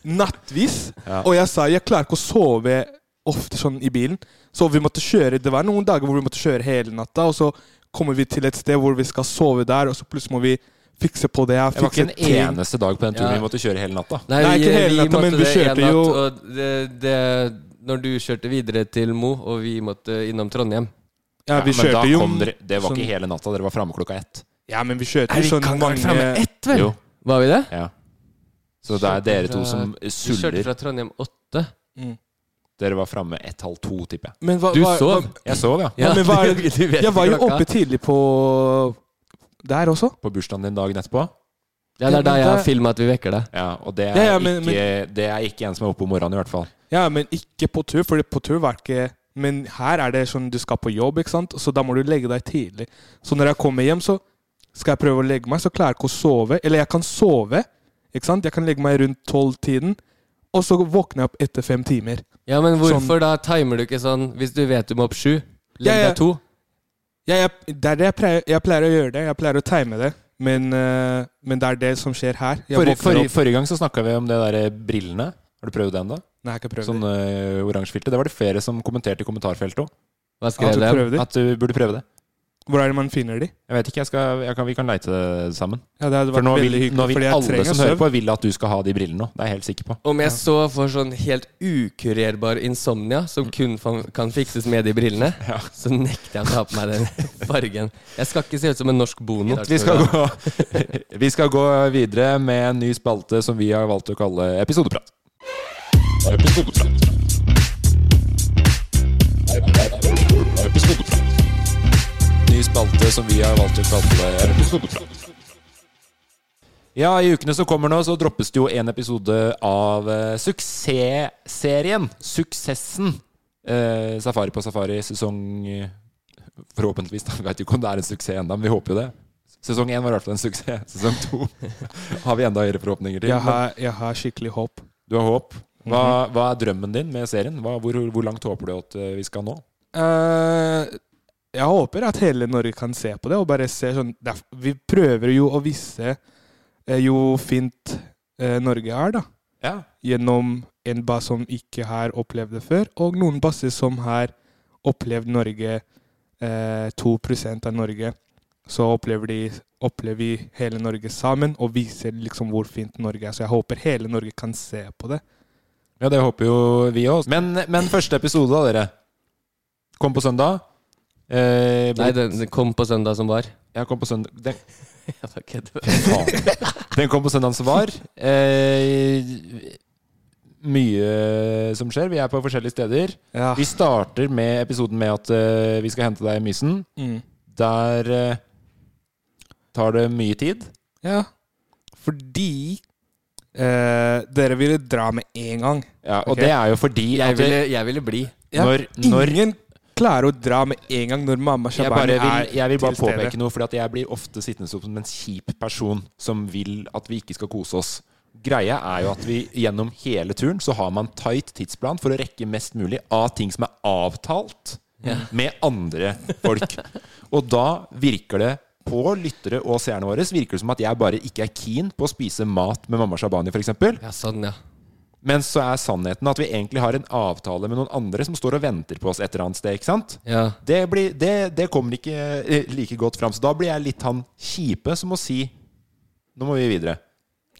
Speaker 6: nattvis.
Speaker 5: Ja.
Speaker 6: Og jeg sa jeg klarer ikke å sove ofte sånn i bilen. Så vi måtte kjøre Det var noen dager hvor vi måtte kjøre hele natta, og så kommer vi til et sted hvor vi skal sove der, og så plutselig må vi fikse på det her.
Speaker 5: Det var ikke
Speaker 6: fikse
Speaker 5: en
Speaker 6: ting.
Speaker 5: eneste dag på den turen
Speaker 4: Ja.
Speaker 5: vi måtte kjøre hele natta.
Speaker 4: Nei,
Speaker 6: Nei,
Speaker 4: vi,
Speaker 6: ikke hele
Speaker 4: vi
Speaker 6: natta, men
Speaker 4: måtte
Speaker 6: vi
Speaker 4: det
Speaker 6: kjørte
Speaker 4: en natt,
Speaker 6: jo-
Speaker 4: og det, det, Når du kjørte videre til Mo, og vi måtte innom Trondheim
Speaker 6: Ja, vi
Speaker 5: men da
Speaker 6: kjørte jo
Speaker 5: kom dere, det var
Speaker 6: sånn-
Speaker 5: ikke hele natta, dere var framme klokka ett.
Speaker 6: Ja, men vi kjørte
Speaker 4: Nei,
Speaker 6: jo
Speaker 4: vi
Speaker 6: sånn
Speaker 4: kan ikke være
Speaker 6: mange
Speaker 4: fremme ett, vel?
Speaker 5: Jo.
Speaker 4: Var vi det?
Speaker 5: Ja. Så det er dere to
Speaker 4: Fra-
Speaker 5: som
Speaker 4: Vi
Speaker 5: suller.
Speaker 4: kjørte fra Trondheim åtte.
Speaker 5: Dere var framme ett, halv to, tipper jeg.
Speaker 6: Men hva-
Speaker 4: Du
Speaker 6: hva-
Speaker 4: sov?
Speaker 6: hva-
Speaker 5: Jeg sov, ja.
Speaker 6: Ja, men hva er det?
Speaker 4: du vet
Speaker 6: Jeg var jo
Speaker 4: ikke klokka.
Speaker 6: oppe tidlig på der også.
Speaker 5: På bursdagen din dagen etterpå.
Speaker 4: Ja, det er da jeg har
Speaker 6: det-
Speaker 4: filma at vi vekker deg.
Speaker 5: Ja, og det er,
Speaker 6: Ja, ja, men-
Speaker 5: ikke, det er ikke en som er oppe om morgenen, i hvert fall.
Speaker 6: Ja, men ikke på tur, for på tur var det ikke Men her er det sånn du skal på jobb, ikke sant? så da må du legge deg tidlig. Så når jeg kommer hjem, så skal jeg prøve å legge meg, så klarer jeg ikke å sove. Eller jeg kan sove, ikke sant? Jeg kan legge meg rundt tolv-tiden, og så våkner jeg opp etter fem timer.
Speaker 4: Ja, men
Speaker 6: Sånn.
Speaker 4: hvorfor da timer du ikke sånn hvis du vet du må opp sju? Legg
Speaker 6: Ja, ja.
Speaker 4: deg to.
Speaker 6: Ja, jeg, det er det jeg pleier, jeg pleier å gjøre det. Jeg pleier å time det. Men, eh, men det er det som skjer her. Jeg
Speaker 5: Forrige,
Speaker 6: våkner
Speaker 5: forrige,
Speaker 6: opp-
Speaker 5: forrige gang så snakka vi om det der eh, brillene. Har du prøvd den, da?
Speaker 6: Nei, jeg har ikke prøvd
Speaker 5: Sånn øh, oransjefilte. Det var det flere som kommenterte i kommentarfeltet òg.
Speaker 4: Hva
Speaker 6: skrev At du de? prøver de?
Speaker 5: At du burde prøve det.
Speaker 6: Hvor er det man finner de?
Speaker 5: Jeg vet ikke, jeg skal, jeg kan, vi kan leite det sammen.
Speaker 6: Ja, det hadde
Speaker 5: For
Speaker 6: vært
Speaker 5: nå vil,
Speaker 6: veldig hyggelig,
Speaker 5: nå vil
Speaker 6: fordi jeg
Speaker 5: alle
Speaker 6: trenger
Speaker 5: som hører
Speaker 6: søvn.
Speaker 5: på, vil at du skal ha de brillene nå. Det er jeg helt sikker på.
Speaker 4: Om jeg så får sånn helt ukurerbar insomnia, som kun fa- kan fikses med de brillene, så nekter jeg å ta på meg den fargen. Jeg skal ikke se ut som en norsk bono.
Speaker 5: Vi skal, gå, vi skal gå videre med en ny spalte som vi har valgt å kalle Episodeprat. Episodeprat. Ny spalte som vi har valgt å kalle Episodeprat. Ja, I ukene som kommer nå, så droppes det jo en episode av eh, suksessserien. Suksessen. Eh, safari på safari sesong eh, Forhåpentligvis, da. Vi veit jo ikke om det er en suksess ennå, men vi håper jo det. Sesong én var i hvert fall en suksess. Sesong to har vi enda høyere forhåpninger til.
Speaker 6: Jeg har, Mhm. jeg har skikkelig håp.
Speaker 5: Du har håp. Hva, hva er drømmen din med serien? Hva, hvor, hvor langt håper du at eh, vi skal nå?
Speaker 6: Eh, jeg håper at hele Norge kan se på det og bare se sånn det er- Vi prøver jo å vise eh, jo fint eh, Norge er, da. Gjennom en bass som ikke har opplevd det før, og noen basser som har opplevd Norge eh, 2 av Norge. Så opplever, de, opplever vi hele Norge sammen og viser liksom hvor fint Norge er. Så jeg håper hele Norge kan se på det.
Speaker 5: Ja, det håper jo vi òg. Men, men første episode, da, dere. Kom på søndag. Eh,
Speaker 4: Nei, den, den kom på søndag som var.
Speaker 5: Jeg kom på søndag Den,
Speaker 4: Faen.
Speaker 5: den kom på søndagen som var. Eh, mye som skjer. Vi er på forskjellige steder. Vi starter med episoden med at eh, vi skal hente deg i Mysen.
Speaker 6: Mm.
Speaker 5: Der eh, tar det mye tid.
Speaker 6: Ja. Fordi eh, dere ville dra med en gang.
Speaker 5: Ja, og det er jo fordi
Speaker 4: Jeg
Speaker 5: at det-
Speaker 4: ville- jeg ville bli.
Speaker 6: Ja,
Speaker 5: Når- når-
Speaker 6: ingen klarer å dra med en gang når mamma
Speaker 5: Jeg,
Speaker 6: Shabani
Speaker 5: bare
Speaker 6: er
Speaker 5: vil, jeg vil bare
Speaker 6: til stede.
Speaker 5: påpeke noe, for jeg blir ofte sittende som en kjip person som vil at vi ikke skal kose oss. Greia er jo at vi gjennom hele turen så har man tight tidsplan for å rekke mest mulig av ting som er avtalt
Speaker 4: Ja.
Speaker 5: med andre folk. Og da virker det på lyttere og seerne våre virker det som at jeg bare ikke er keen på å spise mat med mamma Shabani, f.eks.
Speaker 4: Ja, sånn, ja.
Speaker 5: Men så er sannheten at vi egentlig har en avtale med noen andre som står og venter på oss et eller annet sted. ikke sant?
Speaker 4: Ja.
Speaker 5: Det, blir, det, det kommer ikke eh, like godt fram. Så da blir jeg litt han kjipe som må si Nå må vi videre.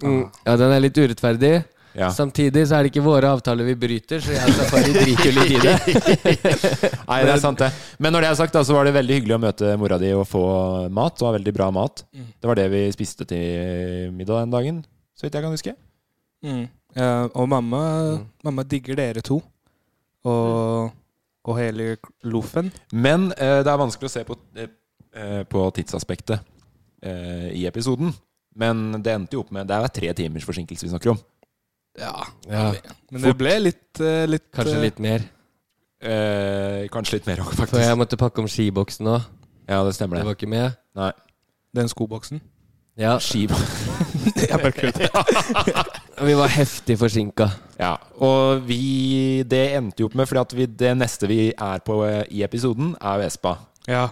Speaker 4: Mm. ja, den er litt urettferdig.
Speaker 5: Ja.
Speaker 4: Samtidig så er det ikke våre avtaler vi bryter, så jeg og Safari driter jo litt i det.
Speaker 5: Nei, det er sant, det. Men når det er sagt, da, så var det veldig hyggelig å møte mora di og få mat. Det var veldig bra mat.
Speaker 4: Mm.
Speaker 5: Det var det vi spiste til middag den dagen, så vidt jeg kan huske.
Speaker 6: Mm. Eh, og mamma, mamma digger dere to. Og, og hele loffen.
Speaker 5: Men eh, det er vanskelig å se på, eh, eh, på tidsaspektet eh, i episoden. Men det endte jo opp med Det er tre timers forsinkelse vi snakker om.
Speaker 6: Ja.
Speaker 4: Ja.
Speaker 6: Men det ble litt, eh, litt
Speaker 4: Kanskje
Speaker 6: eh,
Speaker 4: litt mer.
Speaker 5: Eh, kanskje litt mer òg, faktisk.
Speaker 4: For jeg måtte pakke om skiboksen òg.
Speaker 5: Ja, det stemmer det.
Speaker 4: Du var ikke med?
Speaker 5: Nei.
Speaker 6: Den skoboksen.
Speaker 4: Ja.
Speaker 6: Jeg bare kødder.
Speaker 4: Vi var heftig forsinka.
Speaker 5: Ja, og vi, det endte jo opp med Fordi at vi, det neste vi er på eh, i episoden, er jo Espa.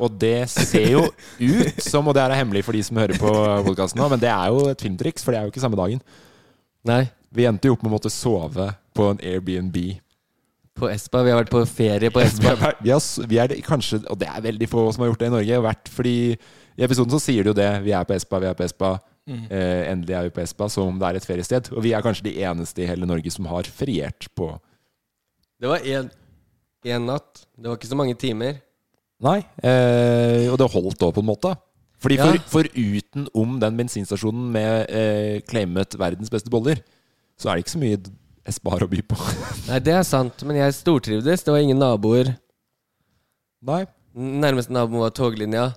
Speaker 5: Og det ser jo ut som, og det her er hemmelig for de som hører på podkasten nå, men det er jo et filmtriks, for det er jo ikke samme dagen.
Speaker 4: Nei.
Speaker 5: Vi endte jo opp med å måtte sove på en Airbnb.
Speaker 4: På Espa. Vi har vært på ferie på Espa.
Speaker 5: Vi, er, vi, har, s- vi er det- kanskje, og det er veldig få som har gjort det i Norge, vært fordi i episoden så sier de jo det. Vi er på Espa, vi er på Espa.
Speaker 6: Mm.
Speaker 5: Eh, endelig er vi på Espa, som om det er et feriested. Og vi er kanskje de eneste i hele Norge som har feriert på
Speaker 4: Det var én natt. Det var ikke så mange timer.
Speaker 5: Nei, eh, og det holdt da på en måte. Fordi
Speaker 4: Ja.
Speaker 5: for, Foruten om den bensinstasjonen med eh, claimet verdens beste boller, så er det ikke så mye Espa har å by på.
Speaker 4: Nei, det er sant, men jeg stortrivdes. Det var ingen naboer.
Speaker 5: Nei.
Speaker 4: Nærmeste nabo var toglinja.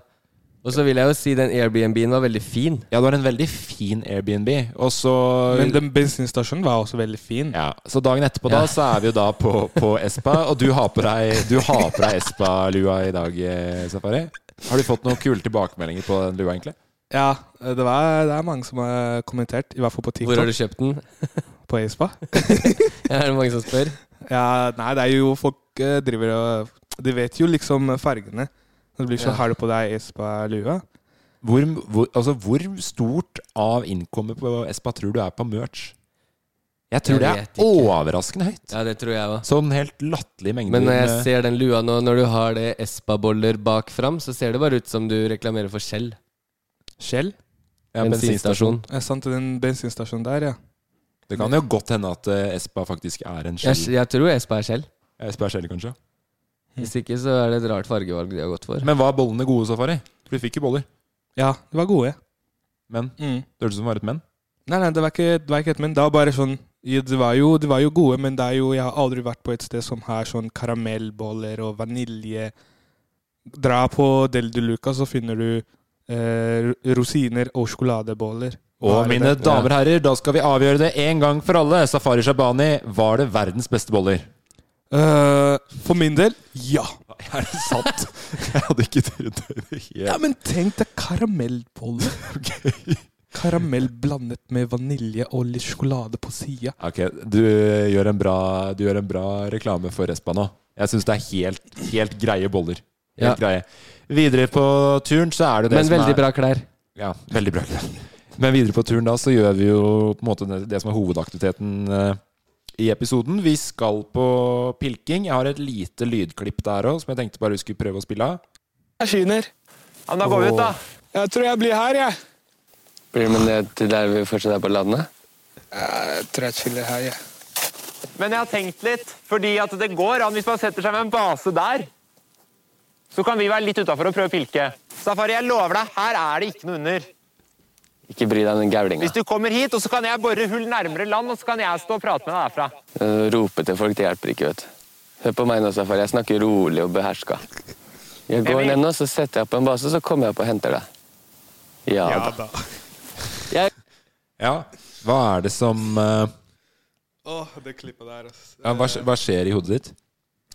Speaker 4: Og så vil jeg jo si den Airbnb-en var veldig fin.
Speaker 5: Ja, det var en veldig fin Airbnb. Og så
Speaker 6: Men den bensinstasjonen var også veldig fin.
Speaker 5: Ja, Så dagen etterpå da,
Speaker 6: Ja.
Speaker 5: så er vi jo da på, på Espa, og du har på deg, du har på deg Espa-lua i dag, eh, Safari. Har du fått noen kule tilbakemeldinger på den lua, egentlig?
Speaker 6: Ja, eh, det, var, det er mange som har kommentert, i hvert fall på TikTok.
Speaker 4: Hvor har du kjøpt den?
Speaker 6: På Espa.
Speaker 4: Ja, er det mange som spør?
Speaker 6: Ja, nei, det er jo folk eh, driver og De vet jo liksom fargene. Det blir
Speaker 5: Ja.
Speaker 6: sånn Har du på deg Espa-lua?
Speaker 5: Hvor, hvor, altså, hvor stort av innkommet på Espa tror du er på merch? Jeg tror
Speaker 4: Jeg
Speaker 5: det
Speaker 4: vet
Speaker 5: er overraskende høyt.
Speaker 4: Ja, det tror jeg òg.
Speaker 5: Sånn helt latterlig mengde.
Speaker 4: Men eh, når
Speaker 6: eh,
Speaker 4: jeg
Speaker 5: med-
Speaker 4: ser den lua nå, når du har det Espa-boller bak fram, så ser det bare ut som du reklamerer for Shell.
Speaker 6: Shell?
Speaker 5: Ja, bensinstasjon.
Speaker 6: Er sant, den bensinstasjonen der, ja.
Speaker 5: Det kan jo godt hende at eh, Espa faktisk er en
Speaker 4: Jeg,
Speaker 5: skjell.
Speaker 4: jeg tror Espa er Shell.
Speaker 5: Espa er skjell, kanskje.
Speaker 4: Hvis
Speaker 6: Mm.
Speaker 4: ikke så er det et rart fargevalg de har gått for.
Speaker 5: Men var bollene gode, Safari? For du fikk jo boller.
Speaker 6: Ja, de var gode.
Speaker 5: Men
Speaker 6: Mm.
Speaker 5: det hørtes ut som det var et men.
Speaker 6: Nei, nei, det var ikke, det var ikke et men. Det var bare sånn ja, det var, jo, det var jo gode, men det er jo, jeg har aldri vært på et sted som har sånn karamellboller og vanilje. Dra på Del de Luca, så finner du eh, rosiner og sjokoladeboller.
Speaker 5: Og mine damer og herrer, da skal vi avgjøre det en gang for alle. Safari Shabani, var det verdens beste boller?
Speaker 6: Eh,
Speaker 4: for min del, ja.
Speaker 5: Er det sant? Jeg hadde ikke trodd det i det hele
Speaker 4: Ja, men tenk deg karamellbolle. Karamell blandet med vanilje og litt sjokolade på sida.
Speaker 5: Ok, du eh, gjør en bra, du gjør en bra reklame for Respa nå. Jeg syns det er helt, helt greie boller. Helt greie. Videre på turen så er det det
Speaker 11: Men
Speaker 5: som
Speaker 11: veldig
Speaker 5: er
Speaker 11: bra klær.
Speaker 5: Ja, veldig bra klær. Men videre på turen da så gjør vi jo på en måte det, det som er hovedaktiviteten eh, i episoden. Vi skal på pilking. Jeg har et lite lydklipp der òg som jeg tenkte bare vi skulle prøve å spille av.
Speaker 12: Jeg skyner. Ja, men da går vi ut, da. Jeg tror jeg blir her, jeg.
Speaker 11: Blir det med ned til der vi fortsatt er på landet?
Speaker 12: Jeg tror jeg chiller her, jeg. Men jeg har tenkt litt, fordi at det går an hvis man setter seg med en base der. Så kan vi være litt utafor og prøve å pilke. Safari, jeg lover deg, her er det ikke noe under.
Speaker 11: Ikke bry deg om den gaulinga.
Speaker 12: Hvis du kommer hit, og så kan jeg bore hull nærmere land, og så kan jeg stå og prate med deg derfra.
Speaker 11: Eh, Rope til folk, det hjelper ikke, vet du. Hør på meg nå, Safari. Jeg snakker rolig og beherska. Jeg går ned nå, så setter jeg på en base, så kommer jeg opp og henter deg. Ja,
Speaker 5: Ja
Speaker 11: da.
Speaker 5: Ja. Hva er det som eh,
Speaker 4: Åh, det klippet der, ass.
Speaker 5: ja, hva, skj- hva skjer i hodet ditt?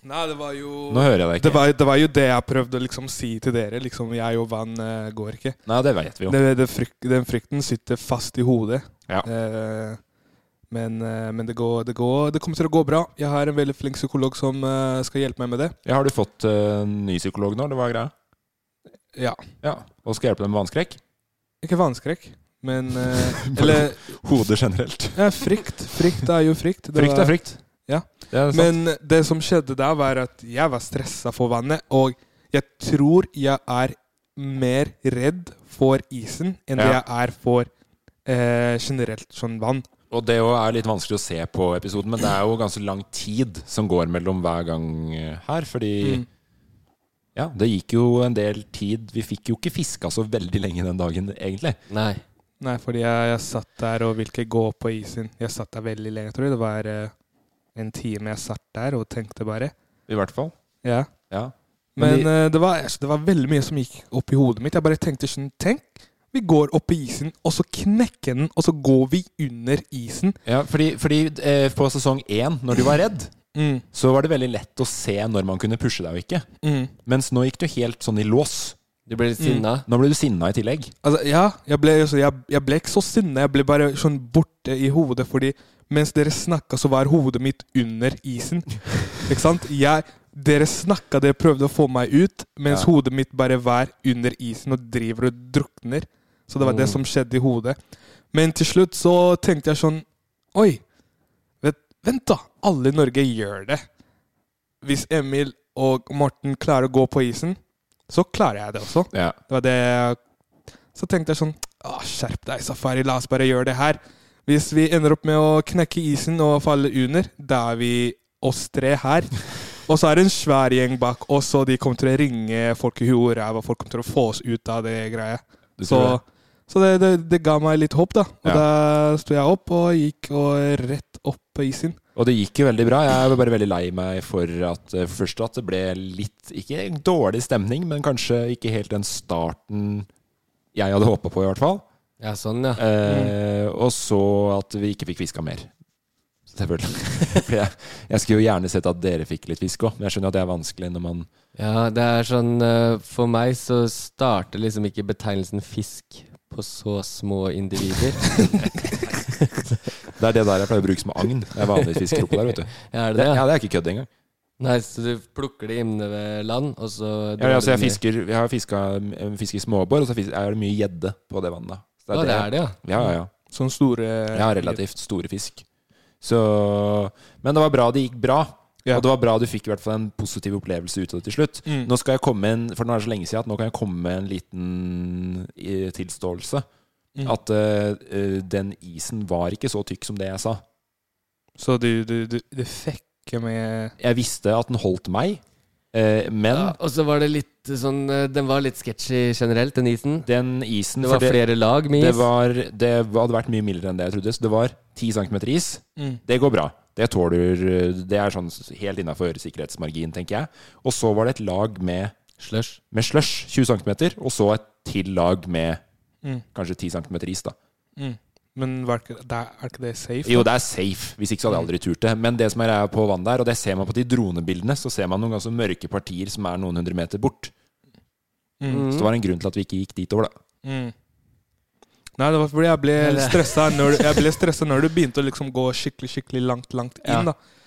Speaker 4: Nei, det var jo
Speaker 5: Nå hører jeg deg ikke.
Speaker 4: Det var, det var jo det jeg prøvde å liksom si til dere. Liksom, jeg og vann eh, går ikke.
Speaker 5: Nei, det vet vi jo.
Speaker 4: Det, det fryk, den frykten sitter fast i hodet.
Speaker 5: Ja.
Speaker 4: Eh, men eh, men det, går, det, går, det kommer til å gå bra. Jeg har en veldig flink psykolog som eh, skal hjelpe meg med det.
Speaker 5: Ja, har du fått eh, en ny psykolog nå, eller hva er greia?
Speaker 4: Ja.
Speaker 5: Og skal hjelpe deg med vannskrekk?
Speaker 4: Ikke vannskrekk, men eh,
Speaker 5: Bare
Speaker 4: Eller
Speaker 5: hodet generelt.
Speaker 4: Ja, frykt. Frykt er jo frykt. Det
Speaker 5: Frykt er frykt.
Speaker 4: Ja.
Speaker 5: Det er sant.
Speaker 4: Men det som skjedde der, var at jeg var stressa for vannet. Og jeg tror jeg er mer redd for isen enn det
Speaker 5: Ja.
Speaker 4: jeg er for eh, generelt sånn vann.
Speaker 5: Og det jo er litt vanskelig å se på episoden, men det er jo ganske lang tid som går mellom hver gang eh, her, fordi
Speaker 4: Mm.
Speaker 5: Ja, det gikk jo en del tid Vi fikk jo ikke fiska så veldig lenge den dagen, egentlig.
Speaker 11: Nei.
Speaker 4: Nei, fordi jeg, jeg satt der og ville ikke gå på isen. Jeg satt der veldig lenge, tror jeg. Det var eh, en time jeg satt der og tenkte bare.
Speaker 5: I hvert fall.
Speaker 4: Ja.
Speaker 5: Ja.
Speaker 4: Men,
Speaker 5: Men
Speaker 4: eh, det, var, altså, det var veldig mye som gikk opp i hodet mitt. Jeg bare tenkte sånn Tenk, vi går opp i isen, og så knekker den, og så går vi under isen.
Speaker 5: Ja, fordi, fordi eh, på sesong én, når du var redd,
Speaker 4: Mm.
Speaker 5: så var det veldig lett å se når man kunne pushe deg og ikke.
Speaker 4: Mm.
Speaker 5: Mens nå gikk du helt sånn i lås.
Speaker 11: Du ble
Speaker 4: litt sinna.
Speaker 5: Nå ble du sinna i tillegg.
Speaker 4: Altså, ja, jeg ble, altså, jeg, jeg ble ikke så sinna. Jeg ble bare sånn borte i hodet, fordi mens dere snakka, så var hodet mitt under isen. ikke sant? Jeg, dere snakka, dere prøvde å få meg ut,
Speaker 5: Ja.
Speaker 4: mens hodet mitt bare var under isen og driver og drukner. Så det var det
Speaker 5: Mm.
Speaker 4: som skjedde i hodet. Men til slutt så tenkte jeg sånn Oi, vet, vent da. Alle i Norge gjør det. Hvis Emil og Morten klarer å gå på isen, så klarer jeg det også.
Speaker 5: Ja.
Speaker 4: Det var det jeg- Så tenkte jeg sånn «Åh, Skjerp deg, Safari. La oss bare gjøre det her. Hvis vi ender opp med å knekke isen og falle under, da er vi oss tre her. Og så er det en svær gjeng bak oss, og de kommer til å ringe folk i huet og ræva. Folk kommer til å få oss ut av det greia.
Speaker 5: Du tror
Speaker 4: Så, så det, det, det ga meg litt håp, da. Og
Speaker 5: Ja.
Speaker 4: da sto jeg opp og gikk og rett opp på isen.
Speaker 5: Og det gikk jo veldig bra. Jeg er bare veldig lei meg for at eh, for først at det ble litt Ikke dårlig stemning, men kanskje ikke helt den starten jeg hadde håpa på, i hvert fall.
Speaker 11: Ja, sånn, ja.
Speaker 5: Eh,
Speaker 11: Mm.
Speaker 5: og så at vi ikke fikk fiska mer. Selvfølgelig. For jeg, jeg skulle jo gjerne sett at dere fikk litt fisk òg, men jeg skjønner at det er vanskelig når man
Speaker 11: Ja, det er sånn eh, For meg så starter liksom ikke betegnelsen fisk på så små individer.
Speaker 5: Det er det der jeg pleier å bruke som agn. Det er vanligvis fiskerope der, vet du.
Speaker 11: Ja, er det det?
Speaker 5: Ja, det er ikke kødd engang.
Speaker 11: Nei, så du plukker det inne ved land, og så
Speaker 5: Ja, altså jeg, fisker, jeg har fiska fisker småbår, og så fis- er det mye gjedde på det vannet. Så
Speaker 11: Å, det er det, ja.
Speaker 5: Ja, ja, ja.
Speaker 4: Sånn store
Speaker 5: Ja, relativt store fisk. Så, men det var bra det gikk bra. Og det var bra du fikk i hvert fall en positiv opplevelse ut av det til slutt.
Speaker 4: Mm.
Speaker 5: Nå skal jeg komme med en, for nå er det så lenge siden at nå kan jeg komme med en liten eh, tilståelse.
Speaker 4: Mm.
Speaker 5: At eh, eh, den isen var ikke så tykk som det jeg sa.
Speaker 4: Så du, du, du, du fekker med
Speaker 5: Jeg visste at den holdt meg, eh, men
Speaker 11: Ja, og så var det litt sånn eh, Den var litt sketchy generelt, den isen.
Speaker 5: Den isen
Speaker 11: Det var
Speaker 5: for
Speaker 11: flere lag med
Speaker 5: Det,
Speaker 11: is.
Speaker 5: var, det hadde vært mye mildere enn det jeg trodde. Så det var 10 cm is.
Speaker 4: Mm.
Speaker 5: Det går bra. Det tåler Det er sånn helt innafor sikkerhetsmargin, tenker jeg. Og så var det et lag med
Speaker 11: slush.
Speaker 5: Med slush 20 cm, og så et til lag med
Speaker 4: Mm.
Speaker 5: kanskje 10 cm is, da.
Speaker 6: Men var ikke, det er ikke det safe?
Speaker 5: Jo, det er safe. Hvis ikke så hadde
Speaker 4: Mm.
Speaker 5: jeg aldri turt det. Men det som er greia på vann der, og det ser man på de dronebildene, så ser man noen ganske mørke partier som er noen hundre meter bort.
Speaker 6: Mm.
Speaker 5: Så det var en grunn til at vi ikke gikk dit over, da.
Speaker 6: Mm. Nei, det var fordi jeg ble
Speaker 5: Eller-
Speaker 6: stressa når, jeg ble stresset når du begynte å liksom gå skikkelig skikkelig langt langt inn.
Speaker 5: Ja.
Speaker 6: da.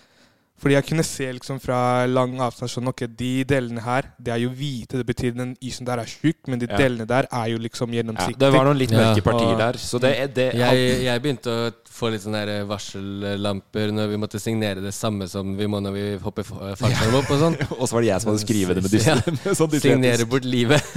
Speaker 6: Fordi jeg kunne se liksom fra lang avstand sånn, ok, de delene her det er jo hvite. Det betyr den isen der er tjukk, men de
Speaker 5: Ja.
Speaker 6: delene der er jo liksom
Speaker 5: Ja,
Speaker 6: gjennomsiktig.
Speaker 5: det var noen litt mørke partier
Speaker 6: Og-
Speaker 5: der, så det, det
Speaker 4: jeg, jeg begynte å få litt sånne der varsellamper når vi måtte signere det samme som vi må når vi hopper fa- fallskjerm opp og sånn.
Speaker 5: Og så var det jeg som hadde skrevet det med dys- med sånn dysletisk.
Speaker 4: Signere bort livet.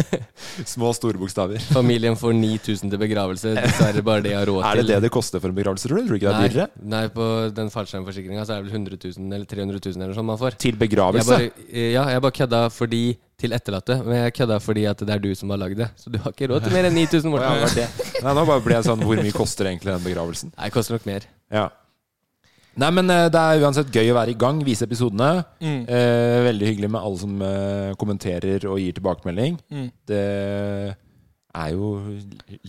Speaker 5: Små store bokstaver.
Speaker 4: Familien får 9000 til begravelse. Dessverre bare det jeg har råd
Speaker 5: Er
Speaker 4: til.
Speaker 5: det det det koster for en begravelse, tror du? Tror du ikke det er dyrere?
Speaker 4: Nei, nei, på den fallskjermforsikringa så er det vel 100 000 eller 300 000 eller noe sånt man får.
Speaker 5: Til begravelse?
Speaker 4: Jeg bare, eh, ja, jeg bare kødda fordi til etterlatte, men jeg kødda fordi at det er du som har lagd det. Så du har ikke råd til mer enn 9000,
Speaker 5: Å, ja,
Speaker 4: Morten.
Speaker 5: det var det. Nei, nå bare ble jeg sånn Hvor mye koster egentlig den begravelsen?
Speaker 4: Nei, det koster nok mer.
Speaker 5: Ja. Nei, men eh, det er uansett gøy å være i gang, vise episodene.
Speaker 4: Mm.
Speaker 5: Eh, veldig hyggelig med alle som eh, kommenterer og gir tilbakemelding.
Speaker 6: Mm.
Speaker 5: Det er jo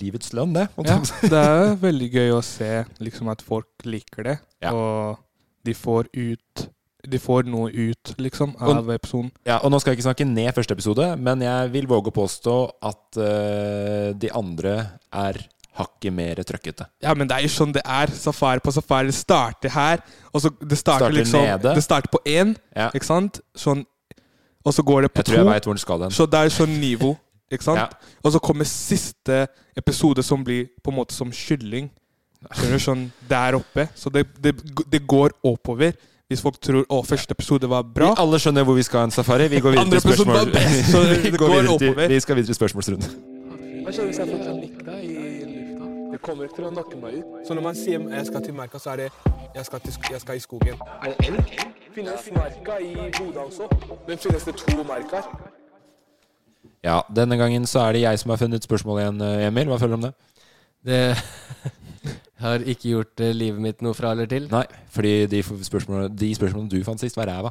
Speaker 5: livets lønn, det. holdt
Speaker 6: Ja,
Speaker 5: jeg på å si.
Speaker 6: det er veldig gøy å se liksom at folk liker det, og de får ut De får noe ut, liksom, av
Speaker 5: Og-
Speaker 6: episoden.
Speaker 5: Ja, og nå skal jeg ikke snakke ned første episode, men jeg vil våge å påstå at eh, de andre er hakket mer trøkkete.
Speaker 6: Ja, men det er jo sånn det er. Safari på safari. Det starter her, og så det starter,
Speaker 5: Starter
Speaker 6: liksom
Speaker 5: nede.
Speaker 6: Det starter på én, ikke sant? Sånn, og så går det på
Speaker 5: Jeg tror jeg
Speaker 6: to.
Speaker 5: vet hvor den skal hen.
Speaker 6: Så det er sånn nivå, ikke sant? Og så kommer siste episode som blir på en måte som kylling. Skjønner du? Sånn der oppe. Så det, det, det går oppover. Hvis folk tror å, første episode var bra
Speaker 5: Vi alle skjønner hvor vi skal ha en safari. Vi går videre
Speaker 6: Andre
Speaker 5: til
Speaker 6: episode
Speaker 5: spørsmål.
Speaker 6: var best, så det
Speaker 5: Vi går
Speaker 6: går
Speaker 5: videre til,
Speaker 6: oppover.
Speaker 5: vi skal videre til spørsmålsrunden.
Speaker 6: Hva skjer hvis jeg får panikk i lufta? Det kommer ikke til å nakke meg ut. Så når man sier 'jeg skal til merka', så er det 'jeg skal, i skogen'. Er det elg? Finnes merka i Bodø også? Men finnes det to merker?
Speaker 5: Ja, denne gangen så er det jeg som har funnet spørsmålet igjen, eh, Emil. Hva føler du om det?
Speaker 4: Det har ikke gjort eh, livet mitt noe fra eller til.
Speaker 5: Nei, fordi de f- spørsmålene, de spørsmålene du fant sist, var ræva.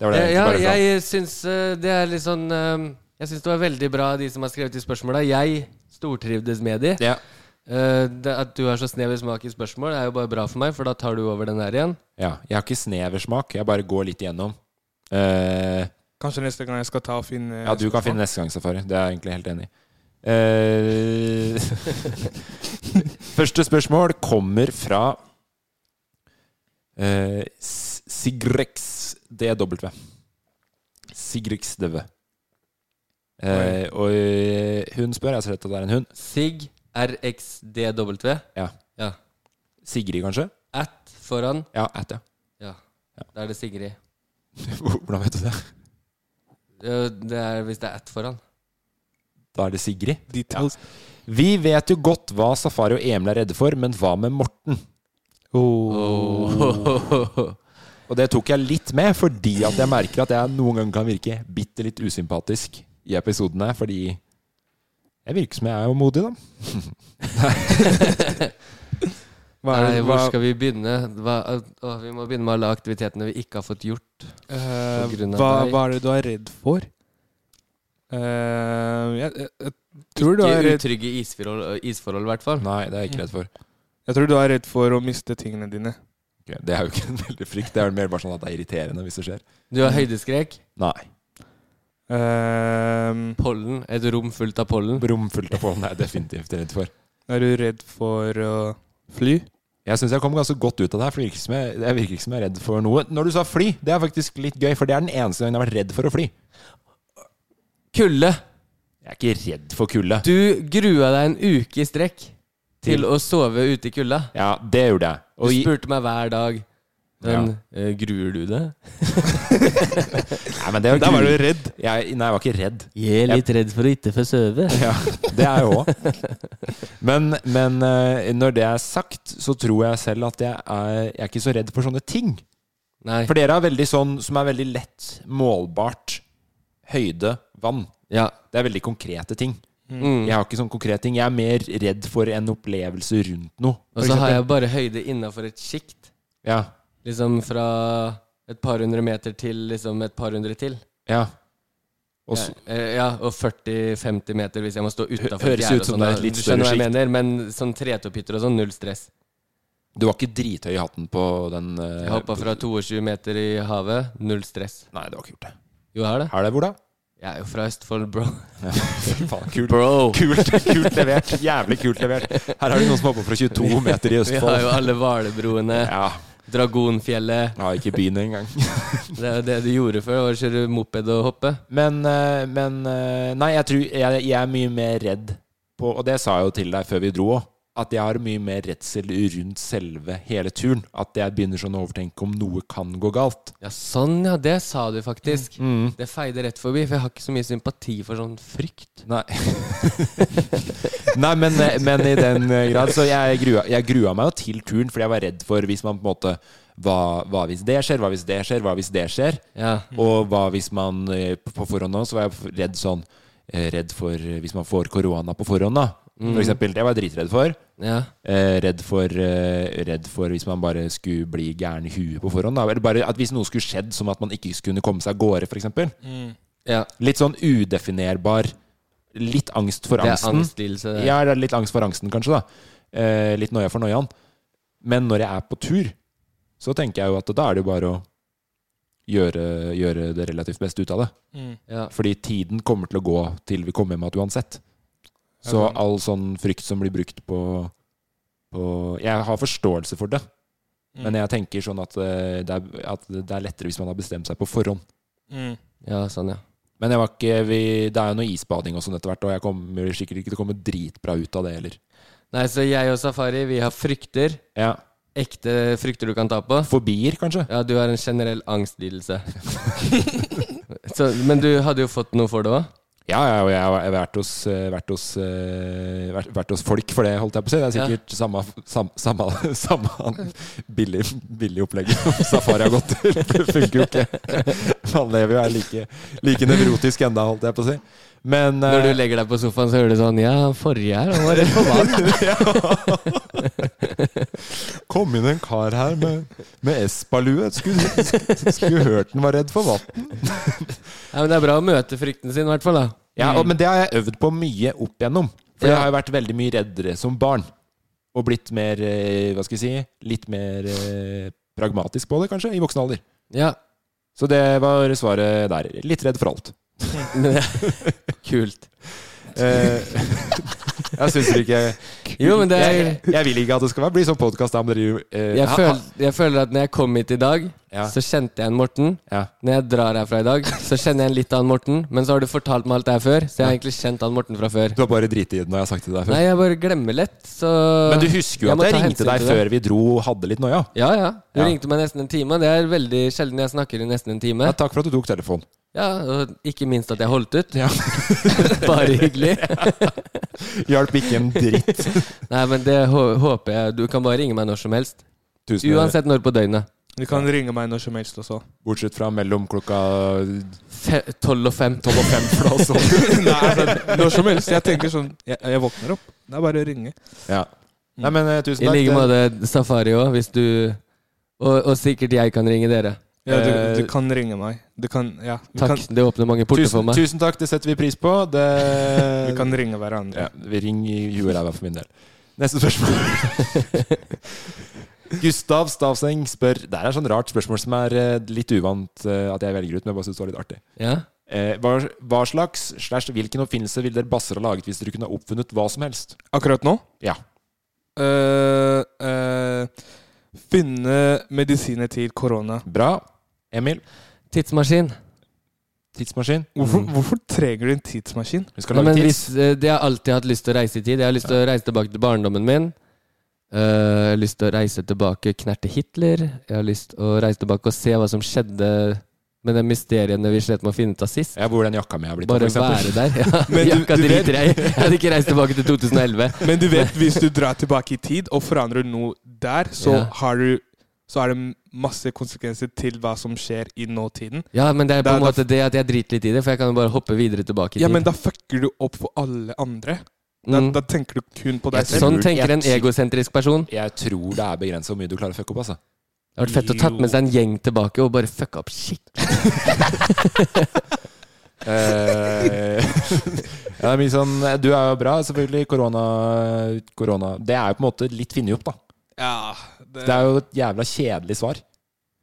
Speaker 5: Det var det
Speaker 4: Eh,
Speaker 5: jeg
Speaker 4: ja,
Speaker 5: egentlig bare sånn. fant.
Speaker 4: jeg syns eh, det er litt sånn eh, Jeg syns det var veldig bra, de som har skrevet de spørsmåla. Jeg stortrivdes med de. Eh, det, at du har så snever smak i spørsmål, er jo bare bra for meg, for da tar du over den her igjen.
Speaker 5: Ja, jeg har ikke snever smak. Jeg bare går litt igjennom. Eh,
Speaker 6: Kanskje neste gang jeg skal ta og finne
Speaker 5: ja, du kan finne neste gang, Safari. Det er jeg egentlig helt enig i. Eh, første spørsmål kommer fra eh, S- SigrexDW. SigrexDW. Eh, og eh, hun spør, jeg ser at det er en hund.
Speaker 4: Sig RXDW.
Speaker 5: Ja.
Speaker 4: Ja.
Speaker 5: Sigrid, kanskje?
Speaker 4: At foran.
Speaker 5: Ja, at, ja.
Speaker 4: Ja. Da er det Sigrid.
Speaker 5: Hvordan vet du det?
Speaker 4: Eh, Det er hvis det er at foran.
Speaker 5: Da er det Sigrid. Ja. Vi vet jo godt hva Safari og Emil er redde for, men hva med Morten?
Speaker 4: Oh.
Speaker 5: Og det tok jeg litt med, fordi at jeg merker at jeg noen ganger kan virke bitte litt usympatisk i episodene, fordi jeg virker som jeg er jo modig, da. Hva er
Speaker 4: Nei,
Speaker 5: det-
Speaker 4: hvor
Speaker 5: hva-
Speaker 4: skal vi begynne? Hva, å, vi må begynne med alle aktivitetene vi ikke har fått gjort. på grunn av
Speaker 6: Eh, hva,
Speaker 4: deg.
Speaker 6: hva er det du er redd for? Eh, jeg, jeg, jeg tror du er
Speaker 4: ikke
Speaker 6: redd
Speaker 4: utrygge isforhold, isforhold, i hvert fall.
Speaker 5: Nei, det er jeg ikke redd for.
Speaker 6: Jeg tror du er redd for å miste tingene dine.
Speaker 5: Ok, Det er jo ikke en veldig frykt, det er vel mer bare sånn at det er irriterende hvis det skjer.
Speaker 4: Du har høydeskrekk?
Speaker 5: Nei.
Speaker 6: Eh,
Speaker 4: pollen? Et rom fullt av pollen?
Speaker 5: Rom fullt av pollen er jeg definitivt redd for.
Speaker 6: Er du redd for å fly?
Speaker 5: Jeg syns jeg kom ganske godt ut av det her, for det virker ikke som jeg, jeg virker ikke som jeg er redd for noe. Når du sa fly, det er faktisk litt gøy, for det er den eneste gangen jeg har vært redd for å fly.
Speaker 4: Kulde!
Speaker 5: Jeg er ikke redd for kulde.
Speaker 4: Du grua deg en uke i strekk til å sove ute i kulda.
Speaker 5: Ja, det gjorde jeg.
Speaker 4: Du spurte meg hver dag. Men eh, gruer du deg?
Speaker 5: Nei, men det er jo
Speaker 4: Da var
Speaker 5: gru-
Speaker 4: du redd.
Speaker 5: Jeg, nei, jeg var ikke redd.
Speaker 4: Jeg er litt redd for å ikke få sove.
Speaker 5: Ja, det er jeg òg. Men, men eh, når det er sagt, så tror jeg selv at jeg er, jeg er ikke så redd for sånne ting.
Speaker 4: Nei.
Speaker 5: For dere er veldig sånn som er veldig lett målbart høyde, vann. Det er veldig konkrete ting.
Speaker 4: Mm.
Speaker 5: Jeg har ikke sånn konkrete ting. Jeg er mer redd for en opplevelse rundt noe.
Speaker 4: Og så har jeg bare høyde innafor et sjikt.
Speaker 5: Ja.
Speaker 4: Liksom fra et par hundre meter til liksom et par hundre til.
Speaker 5: Ja.
Speaker 6: Og så-
Speaker 4: Ja, eh, ja, og 40-50 meter hvis jeg må stå utafor. sånn
Speaker 5: Hø- høres ut som det er et litt større
Speaker 4: Du skjønner hva jeg
Speaker 5: skikt.
Speaker 4: mener, men sånn tretopytter og sånn, null stress.
Speaker 5: Du var ikke drithøy i hatten på den eh,
Speaker 4: Jeg hoppa fra 22 meter i havet, null stress.
Speaker 5: Nei, det var ikke gjort, det.
Speaker 4: Jo, jeg har det.
Speaker 5: Har det hvor da?
Speaker 4: Jeg er jo fra Østfold, bro.
Speaker 5: Faen, kult.
Speaker 4: Bro.
Speaker 5: Kult, kult levert. Jævlig kult levert. Her er det noen som hopper fra 22 meter i Østfold.
Speaker 4: Vi har jo alle Hvalebroene. Dragonfjellet.
Speaker 5: Ja, ikke byen engang.
Speaker 4: det er jo det du gjorde før, var å kjøre moped og hoppe.
Speaker 5: Men, eh, men eh, Nei, jeg tror jeg, jeg er mye mer redd på Og det sa jeg jo til deg før vi dro òg. At jeg har mye mer redsel rundt selve hele turen. At jeg begynner sånn å overtenke om noe kan gå galt.
Speaker 4: Ja, sånn, ja. Det sa du faktisk.
Speaker 5: Mm,
Speaker 4: Det feide rett forbi, for jeg har ikke så mye sympati for sånn frykt.
Speaker 5: Nei. Nei, men, eh, men i den grad Så jeg grua, jeg grua meg jo til turen, fordi jeg var redd for hvis man på en måte hva, hva hvis det skjer, hva hvis det skjer, hva hvis det skjer? Og hva hvis man eh, på på forhånd nå, så var jeg redd sånn eh, Redd for eh, hvis man får korona på forhånd, da.
Speaker 4: Mm.
Speaker 5: For eksempel. Det var jeg dritredd for.
Speaker 4: Ja.
Speaker 5: Eh, redd, for eh, redd for hvis man bare skulle bli gæren i huet på forhånd. Da. Eller bare at hvis noe skulle skjedd som at man ikke kunne komme seg av gårde, f.eks.
Speaker 4: Mm. Ja.
Speaker 5: Litt sånn udefinerbar Litt angst for
Speaker 4: Det er
Speaker 5: angsten.
Speaker 4: angstlidelse, det.
Speaker 5: Ja, det er litt angst for angsten, kanskje. da eh, Litt noia for noiaen. Men når jeg er på tur, så tenker jeg jo at da er det jo bare å gjøre, gjøre det relativt beste ut av det.
Speaker 6: Mm.
Speaker 4: Ja.
Speaker 5: Fordi tiden kommer til å gå til vi kommer hjem igjen uansett.
Speaker 6: Ja,
Speaker 5: Så
Speaker 6: sant.
Speaker 5: all sånn frykt som blir brukt på, på Jeg har forståelse for det,
Speaker 6: Mm.
Speaker 5: men jeg tenker sånn at eh, det, er, at det er lettere hvis man har bestemt seg på forhånd.
Speaker 6: Mm.
Speaker 4: Ja, sånn, ja.
Speaker 5: Men jeg var ikke, vi, det er jo noe isbading og sånn etter hvert, og jeg kommer sikkert ikke til å komme dritbra ut av det heller.
Speaker 4: Nei, så jeg og Safari, vi har frykter. Ekte frykter du kan ta på.
Speaker 5: Fobier, kanskje?
Speaker 4: Ja, du har en generell angstlidelse. så, men du hadde jo fått noe for det òg?
Speaker 5: Ja, ja, og jeg har jeg har vært hos, eh, vært, hos, eh, vært, vært hos folk for det, holdt jeg på å si. Det er sikkert samme, sam, samme, samme han billig, billig opplegget som Safari har gått til. Det funker jo ikke. Man lever jo er like, like nevrotisk enda, holdt jeg på å si. Men eh,
Speaker 4: Når du legger deg på sofaen, så hører du sånn Ja, forrige her, han var redd for vann.
Speaker 5: kom inn en kar her med, med espalue. Skulle, skulle, skulle hørt den var redd for vann.
Speaker 4: ja, men det er bra å møte frykten sin, i hvert fall. da.
Speaker 5: Ja, og, men det har jeg øvd på mye opp igjennom. For jeg har jo vært veldig mye reddere som barn. Og blitt mer, eh, hva skal jeg si, litt mer eh, pragmatisk på det, kanskje, i voksen alder.
Speaker 4: Ja.
Speaker 5: Så det var svaret der. Litt redd for alt.
Speaker 4: Kult.
Speaker 5: Eh, jeg syns ikke
Speaker 4: Jo, men det er-
Speaker 5: jeg, jeg vil ikke at det skal være- bli sånn podkast der, men dere eh,
Speaker 4: jeg,
Speaker 5: ha- ha-
Speaker 4: føl, jeg føler at når jeg kom hit i dag, så kjente jeg en Morten. Når jeg drar herfra i dag, så kjenner jeg en litt annen Morten. Men så har du fortalt meg alt det her før, så jeg har egentlig kjent han Morten fra før.
Speaker 5: Du har bare driti i det når jeg har sagt det til deg før.
Speaker 4: Nei, jeg bare glemmer lett, så
Speaker 5: men du husker jo
Speaker 4: må
Speaker 5: at jeg
Speaker 4: ta
Speaker 5: ringte
Speaker 4: hensyn
Speaker 5: deg
Speaker 4: til det.
Speaker 5: før vi dro og hadde litt noia?
Speaker 4: Ja, ja. Du
Speaker 5: Ja.
Speaker 4: ringte meg nesten en time. og Det er veldig sjelden jeg snakker i nesten en time. Ja,
Speaker 5: takk for at du tok telefonen.
Speaker 4: Ja, og ikke minst at jeg holdt ut. Bare hyggelig.
Speaker 5: Hjalp ikke en dritt.
Speaker 4: Nei, men det hå- håper jeg. Du kan bare ringe meg når som helst.
Speaker 5: Tusen-
Speaker 4: Uansett når på døgnet.
Speaker 6: Du kan ringe meg når som helst også.
Speaker 5: Bortsett fra mellom klokka
Speaker 4: Tolv og fem.
Speaker 5: Tolv og fem for da, så.
Speaker 6: Nei, altså, når som helst. Jeg tenker sånn Jeg, jeg våkner opp. Det er bare å ringe.
Speaker 5: Ja. Nei, men eh, tusen
Speaker 4: I
Speaker 5: takk.
Speaker 4: like måte Safari òg, hvis du og, og sikkert jeg kan ringe dere. Eh,
Speaker 6: Ja, du, du kan ringe meg. Du kan Ja. vi
Speaker 4: Takk.
Speaker 6: Kan,
Speaker 4: Det åpner mange porter
Speaker 5: tusen,
Speaker 4: for meg.
Speaker 5: Tusen takk, det setter vi pris på. Det...
Speaker 6: Vi kan ringe hverandre.
Speaker 5: Ja, vi ringer i huet og ræva for min del. Neste spørsmål. Gustav Stavseng spør Det her er sånn rart spørsmål som er eh, litt uvant eh, at jeg velger ut, men jeg bare syns det var litt artig.
Speaker 4: Ja.
Speaker 5: Eh, hva, hva slags slash hvilken oppfinnelse ville dere basser ha laget hvis dere kunne ha oppfunnet hva som helst?
Speaker 6: Akkurat nå?
Speaker 5: Ja.
Speaker 6: Eh, eh, finne medisiner til korona.
Speaker 5: Bra. Emil?
Speaker 4: Tidsmaskin.
Speaker 5: Tidsmaskin?
Speaker 6: Hvorfor, hvorfor trenger du en tidsmaskin?
Speaker 4: Nei, men hvis, eh, det har jeg alltid hatt lyst til å reise i tid. Jeg har lyst til å reise tilbake til barndommen min. Eh, jeg har lyst til å reise tilbake knerte Hitler. Jeg har lyst til å reise tilbake og se hva som skjedde med de mysteriene vi slet med å finne ut av sist.
Speaker 5: Ja, hvor den jakka mi har blitt av,
Speaker 4: Bare
Speaker 5: for eksempel.
Speaker 4: være der. Ja.
Speaker 5: Men du-
Speaker 4: jakka
Speaker 5: du vet-
Speaker 4: driter jeg i. Jeg hadde ikke reist tilbake til 2011.
Speaker 6: Men du vet, hvis du drar tilbake i tid og forandrer noe der, så
Speaker 4: Ja.
Speaker 6: har du så er det masse konsekvenser til hva som skjer i nåtiden.
Speaker 4: Ja, men det er på
Speaker 6: Da-
Speaker 4: en
Speaker 6: da-
Speaker 4: måte det at jeg driter litt i det, for jeg kan jo bare hoppe videre tilbake i tid.
Speaker 6: Ja, men da fucker du opp for alle andre. Da, da tenker du kun på deg
Speaker 4: Jeg tror- Sånn tenker jeg en tror- egosentrisk person.
Speaker 5: Jeg tror det er begrenset hvor mye du klarer å fucke opp, altså.
Speaker 4: Det hadde vært fett å tatt med seg en gjeng tilbake og bare fucka opp skikkelig.
Speaker 5: Eh, ja, det er mye sånn Du er jo bra, selvfølgelig. Korona, korona Det er jo på en måte litt funnet opp, da.
Speaker 6: Ja,
Speaker 5: det... er jo et jævla kjedelig svar.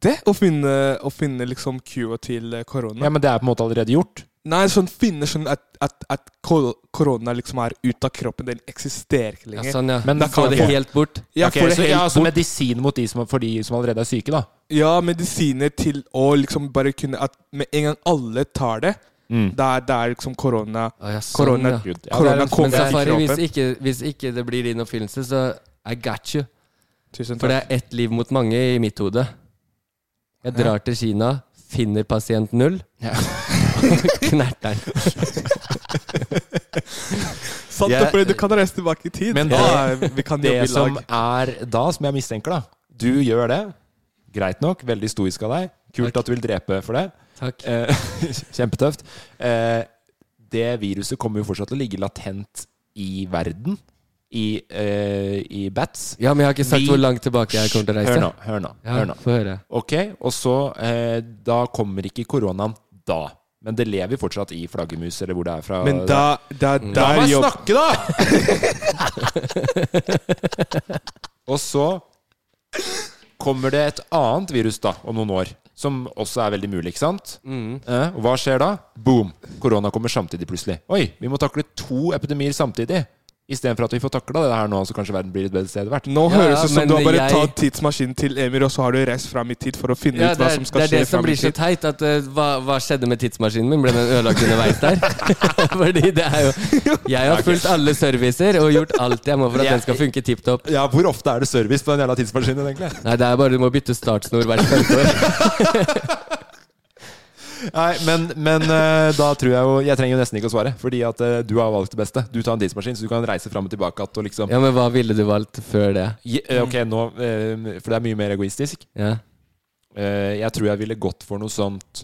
Speaker 6: Det? Å finne, å finne liksom cua til eh, korona?
Speaker 5: Ja, Men det er på en måte allerede gjort.
Speaker 6: Nei, sånn finne sånn at, at, at ko- korona liksom er ute av kroppen. Den eksisterer ikke lenger.
Speaker 5: Men
Speaker 6: sånn, Da kan
Speaker 5: få
Speaker 6: jeg
Speaker 5: det
Speaker 6: få-
Speaker 5: helt bort.
Speaker 6: Ja,
Speaker 5: Ok,
Speaker 6: få det
Speaker 5: så, altså,
Speaker 6: helt
Speaker 5: ja, så
Speaker 6: bort.
Speaker 5: medisin mot de som, for de som allerede er syke, da.
Speaker 6: Ja, medisiner til å liksom bare kunne At med en gang alle tar det,
Speaker 5: Mm.
Speaker 6: da, er- da er liksom korona
Speaker 4: Sånn,
Speaker 6: Korona,
Speaker 4: ja.
Speaker 6: korona
Speaker 4: Men
Speaker 6: kommer til
Speaker 4: Safari, hvis
Speaker 6: kroppen.
Speaker 4: ikke, hvis ikke det blir din oppfyllelse, så I got you.
Speaker 6: Tusen
Speaker 4: For det
Speaker 6: takk.
Speaker 4: er ett liv mot mange i mitt hode. Jeg
Speaker 6: Ja.
Speaker 4: drar til Kina, finner pasient null, knerter
Speaker 6: Sant,
Speaker 5: Jeg-
Speaker 6: for du kan reise tilbake i tid.
Speaker 5: Men det,
Speaker 6: Ja, vi kan jobbe i
Speaker 5: det som
Speaker 6: lag.
Speaker 5: er da, som jeg mistenker, da Du gjør det. Greit nok. Veldig stoisk av deg. Kult at du vil drepe for det.
Speaker 4: Takk.
Speaker 5: Eh, kjempetøft. Eh, det viruset kommer jo fortsatt til å ligge latent i verden. I, eh, i bats.
Speaker 4: Ja, men jeg har ikke sagt hvor langt tilbake jeg kommer til å reise.
Speaker 5: Hør nå. Hør nå,
Speaker 4: Ja,
Speaker 5: hør nå.
Speaker 4: få høre.
Speaker 5: Ok, og så eh, Da kommer ikke koronaen da. Men det lever fortsatt i flaggermus, eller hvor det er fra.
Speaker 6: Men da- da-
Speaker 5: Mm.
Speaker 6: da
Speaker 5: La
Speaker 6: er
Speaker 5: meg
Speaker 6: jobb-
Speaker 5: snakke, da! og så kommer det et annet virus da, om noen år, som også er veldig mulig, ikke sant?
Speaker 6: Mm.
Speaker 5: Eh, og hva skjer da? Boom! Korona kommer samtidig plutselig. Oi, vi må takle to epidemier samtidig. Istedenfor at vi får takla det her nå, så kanskje verden blir et bedre sted hvert.
Speaker 6: Nå høres det ut som du har bare tatt tidsmaskinen til Emir, og så har du reist fram i tid for å finne
Speaker 4: Ja,
Speaker 6: ut
Speaker 4: det
Speaker 6: hva
Speaker 4: er
Speaker 6: som
Speaker 4: det,
Speaker 6: skal
Speaker 4: er det
Speaker 6: skje
Speaker 4: som
Speaker 6: frem i
Speaker 4: blir så
Speaker 6: tid.
Speaker 4: teit. At, eh, hva, hva skjedde med tidsmaskinen min? Ble den ødelagt underveis der? Fordi det er jo Jeg har fulgt alle servicer og gjort alt jeg må for at den skal funke tipp topp.
Speaker 5: Ja, hvor ofte er det service på den jævla tidsmaskinen, egentlig?
Speaker 4: Nei, det er bare du må bytte startsnor hvert femte år.
Speaker 5: Nei, men, men eh, da tror jeg jo Jeg trenger jo nesten ikke å svare, fordi at eh, du har valgt det beste. Du tar en tidsmaskin, så du kan reise fram og tilbake igjen og liksom
Speaker 4: Ja, men hva ville du valgt før det?
Speaker 5: Je- eh, Ok, nå eh, For det er mye mer egoistisk.
Speaker 4: Ja.
Speaker 5: Eh, Jeg tror jeg ville gått for noe sånt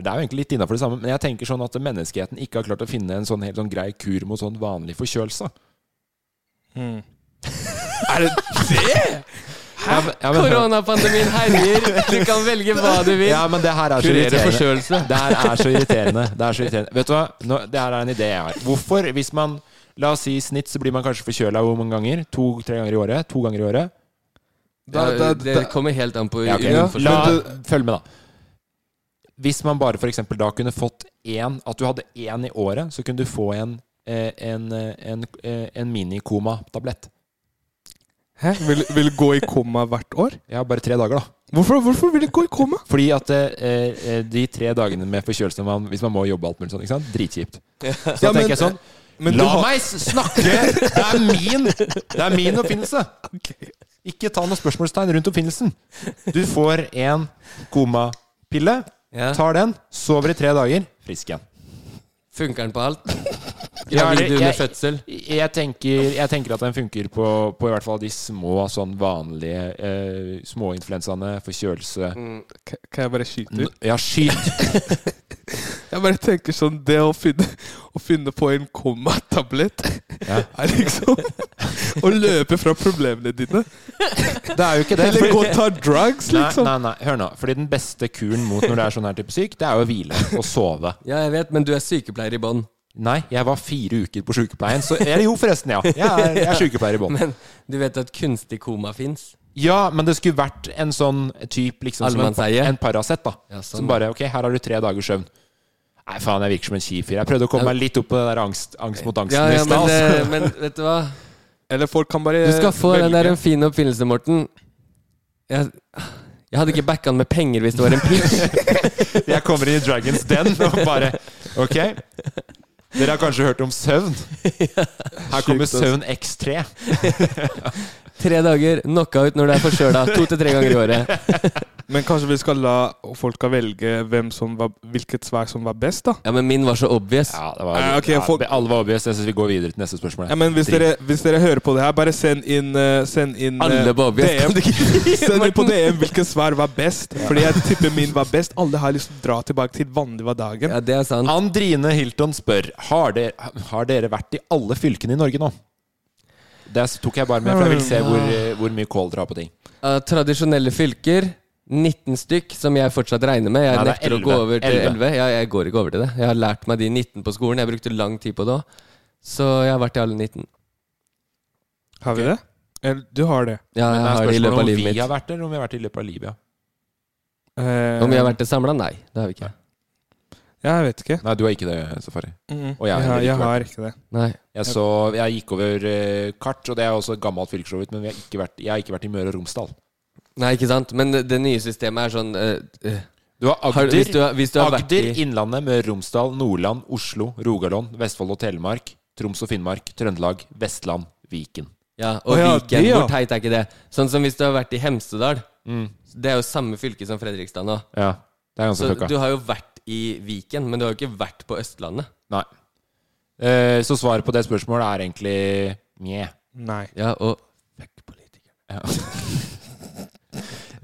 Speaker 5: Det er jo egentlig litt innafor det samme, men jeg tenker sånn at menneskeheten ikke har klart å finne en sånn helt sånn grei kur mot sånn vanlig forkjølelse.
Speaker 6: Mm.
Speaker 5: Er det det?! Ja, men- ja, men hør-
Speaker 4: Koronapandemien herjer! Du kan velge hva du vil.
Speaker 5: Ja, men altså, det her er så
Speaker 4: Kurere
Speaker 5: irriterende.
Speaker 4: forkjølelse.
Speaker 5: Det her er så irriterende. Det er så irriterende. Vet du hva? Nå, det her er en idé jeg har. Hvorfor, hvis man La oss si i snitt så blir man kanskje forkjøla hvor mange ganger? To-tre ganger i året? To ganger i året?
Speaker 4: Da- Ja, da- det da- kommer helt an på
Speaker 5: Ja, ok.
Speaker 4: uforskjønt.
Speaker 5: La,
Speaker 4: Men du-
Speaker 5: Følg med, da. Hvis man bare for eksempel da kunne fått én At du hadde én i året, så kunne du få en eh, en, eh, en, eh, en minikoma-tablett.
Speaker 6: Hæ? Vil, vil gå i koma hvert år?
Speaker 5: Ja, bare tre dager, da.
Speaker 6: Hvorfor, hvorfor vil det gå i koma?
Speaker 5: Fordi at eh, eh, de tre dagene med forkjølelse man, hvis man må jobbe alt mulig sånn, ikke sant? Dritkjipt.
Speaker 6: Ja.
Speaker 5: Så da
Speaker 6: Ja, men-
Speaker 5: tenker jeg sånn
Speaker 6: men du
Speaker 5: La
Speaker 6: har-
Speaker 5: meg s- snakke! Det er min Det er min oppfinnelse! Ikke ta noe spørsmålstegn rundt oppfinnelsen. Du får en komapille, tar den, sover i tre dager, frisk igjen.
Speaker 4: Funker den på alt?
Speaker 5: Ja,
Speaker 4: Gravid
Speaker 5: eller-
Speaker 4: under
Speaker 5: jeg-
Speaker 4: fødsel?
Speaker 5: Jeg tenker, jeg tenker at den funker på, på i hvert fall de små, sånn vanlige eh, småinfluensaene, forkjølelse
Speaker 6: Mm. Ka- Kan jeg bare skyte ut?
Speaker 5: Ja, skyt!
Speaker 6: Jeg bare tenker sånn Det å finne, å finne på en komatablett
Speaker 5: Ja.
Speaker 6: er liksom å løpe fra problemene dine.
Speaker 5: Det er jo ikke det.
Speaker 6: Eller
Speaker 5: fordi-
Speaker 6: gå og ta drugs, liksom.
Speaker 5: Nei, nei, nei, hør nå. Fordi den beste kuren mot når det er sånn her type syk, det er jo å hvile og sove.
Speaker 4: Ja, jeg vet, men du er sykepleier i bånn.
Speaker 5: Nei, jeg var fire uker på sykepleien, så Eller jo, forresten, ja. Jeg er, jeg er sykepleier i bånn.
Speaker 4: Men du vet at kunstig koma fins?
Speaker 5: Ja, men det skulle vært en sånn type liksom, som en,
Speaker 4: Allemannseie?
Speaker 5: en Paracet, da.
Speaker 4: Ja, sånn.
Speaker 5: Som bare Ok, her har du tre dagers søvn. Nei, faen, jeg virker som en kjip fyr. Jeg prøvde å komme
Speaker 4: Ja.
Speaker 5: meg litt opp på det der angst, angst mot angsten
Speaker 4: Ja, ja,
Speaker 5: i
Speaker 4: men,
Speaker 5: stad.
Speaker 4: eh,
Speaker 5: altså.
Speaker 4: men vet du hva?
Speaker 6: Eller folk kan bare
Speaker 4: Du skal få den
Speaker 6: velge.
Speaker 4: der en fin oppfinnelse, Morten. Jeg, jeg hadde ikke backa den med penger hvis det var en pitch.
Speaker 5: Jeg kommer inn i Dragons Den og bare Ok, dere har kanskje hørt om søvn? Her kommer
Speaker 4: Sjukt, altså.
Speaker 5: Søvn X3.
Speaker 4: Tre dager, knockout når du er forkjøla. To til tre ganger i året.
Speaker 6: Men kanskje vi skal la folka velge hvem som var, hvilket svar som var best, da?
Speaker 4: Ja, men min var så obvious.
Speaker 5: Ja, det var,
Speaker 6: Eh, ok,
Speaker 5: ja,
Speaker 6: folk-
Speaker 5: det- Alle var obvious. Jeg syns vi går videre til neste spørsmål. jeg.
Speaker 6: Ja, men hvis
Speaker 5: Drit.
Speaker 6: dere, hvis dere hører på det her, bare send inn, eh, send inn eh,
Speaker 5: Alle på obvious, kan du
Speaker 6: DM. Send inn på DM hvilket svar var best. Fordi jeg tipper min var best. Alle har lyst til å dra tilbake til vanlig var dagen.
Speaker 4: Ja, det er sant.
Speaker 5: Andrine Hilton spør har dere, har dere vært i alle fylkene i Norge nå. Det tok jeg bare med, for jeg vil se hvor, eh, hvor mye kål dere har på ting.
Speaker 4: Av tradisjonelle fylker
Speaker 13: 19 stykk som jeg fortsatt regner med. Jeg
Speaker 5: Nei, det er
Speaker 13: nekter å gå
Speaker 5: 11.
Speaker 13: over til
Speaker 5: 11.
Speaker 13: 11. Ja, jeg går ikke over til det. Jeg har lært meg de 19 på skolen. Jeg brukte lang tid på det òg. Så jeg har vært i alle 19.
Speaker 4: Har vi det? Eller, du har det?
Speaker 13: Ja, jeg har det i løpet av livet mitt.
Speaker 5: Om vi har vært der, eller om vi har vært i løpet av livet, ja.
Speaker 13: Om
Speaker 6: Eh.
Speaker 13: vi har vært det samla? Nei, det har vi ikke.
Speaker 4: Jeg vet ikke.
Speaker 5: Nei, du har ikke det, Safari.
Speaker 4: Mhm.
Speaker 5: Og jeg,
Speaker 4: Jeg har-
Speaker 5: heller
Speaker 4: jeg har
Speaker 5: vært.
Speaker 4: ikke det.
Speaker 13: Nei.
Speaker 5: Jeg, så, jeg gikk over eh, kart, og det er også et gammelt fylke, så vidt, men vi har ikke vært, jeg har ikke vært i Møre og Romsdal.
Speaker 13: Nei, ikke sant? Men det, det nye systemet er sånn eh, eh,
Speaker 5: Du har Agder,
Speaker 13: hvis du har, hvis du har
Speaker 5: Agder
Speaker 13: vært i
Speaker 5: Innlandet, Møre og Romsdal, Nordland, Oslo, Rogaland, Vestfold og Telemark, Troms og Finnmark, Trøndelag, Vestland, Viken.
Speaker 13: Ja, og
Speaker 5: Å ja,
Speaker 13: Viken.
Speaker 5: det, ja.
Speaker 13: Hvor teit er ikke det? Sånn som hvis du har vært i Hemsedal.
Speaker 5: Mm.
Speaker 13: Det er jo samme fylke som Fredrikstad nå.
Speaker 5: Ja, det er ganske
Speaker 13: Så
Speaker 5: fucka.
Speaker 13: du har jo vært i Viken, men du har jo ikke vært på Østlandet.
Speaker 5: Nei. Eh, så svaret på det spørsmålet er egentlig nje.
Speaker 4: Nei.
Speaker 13: Ja, og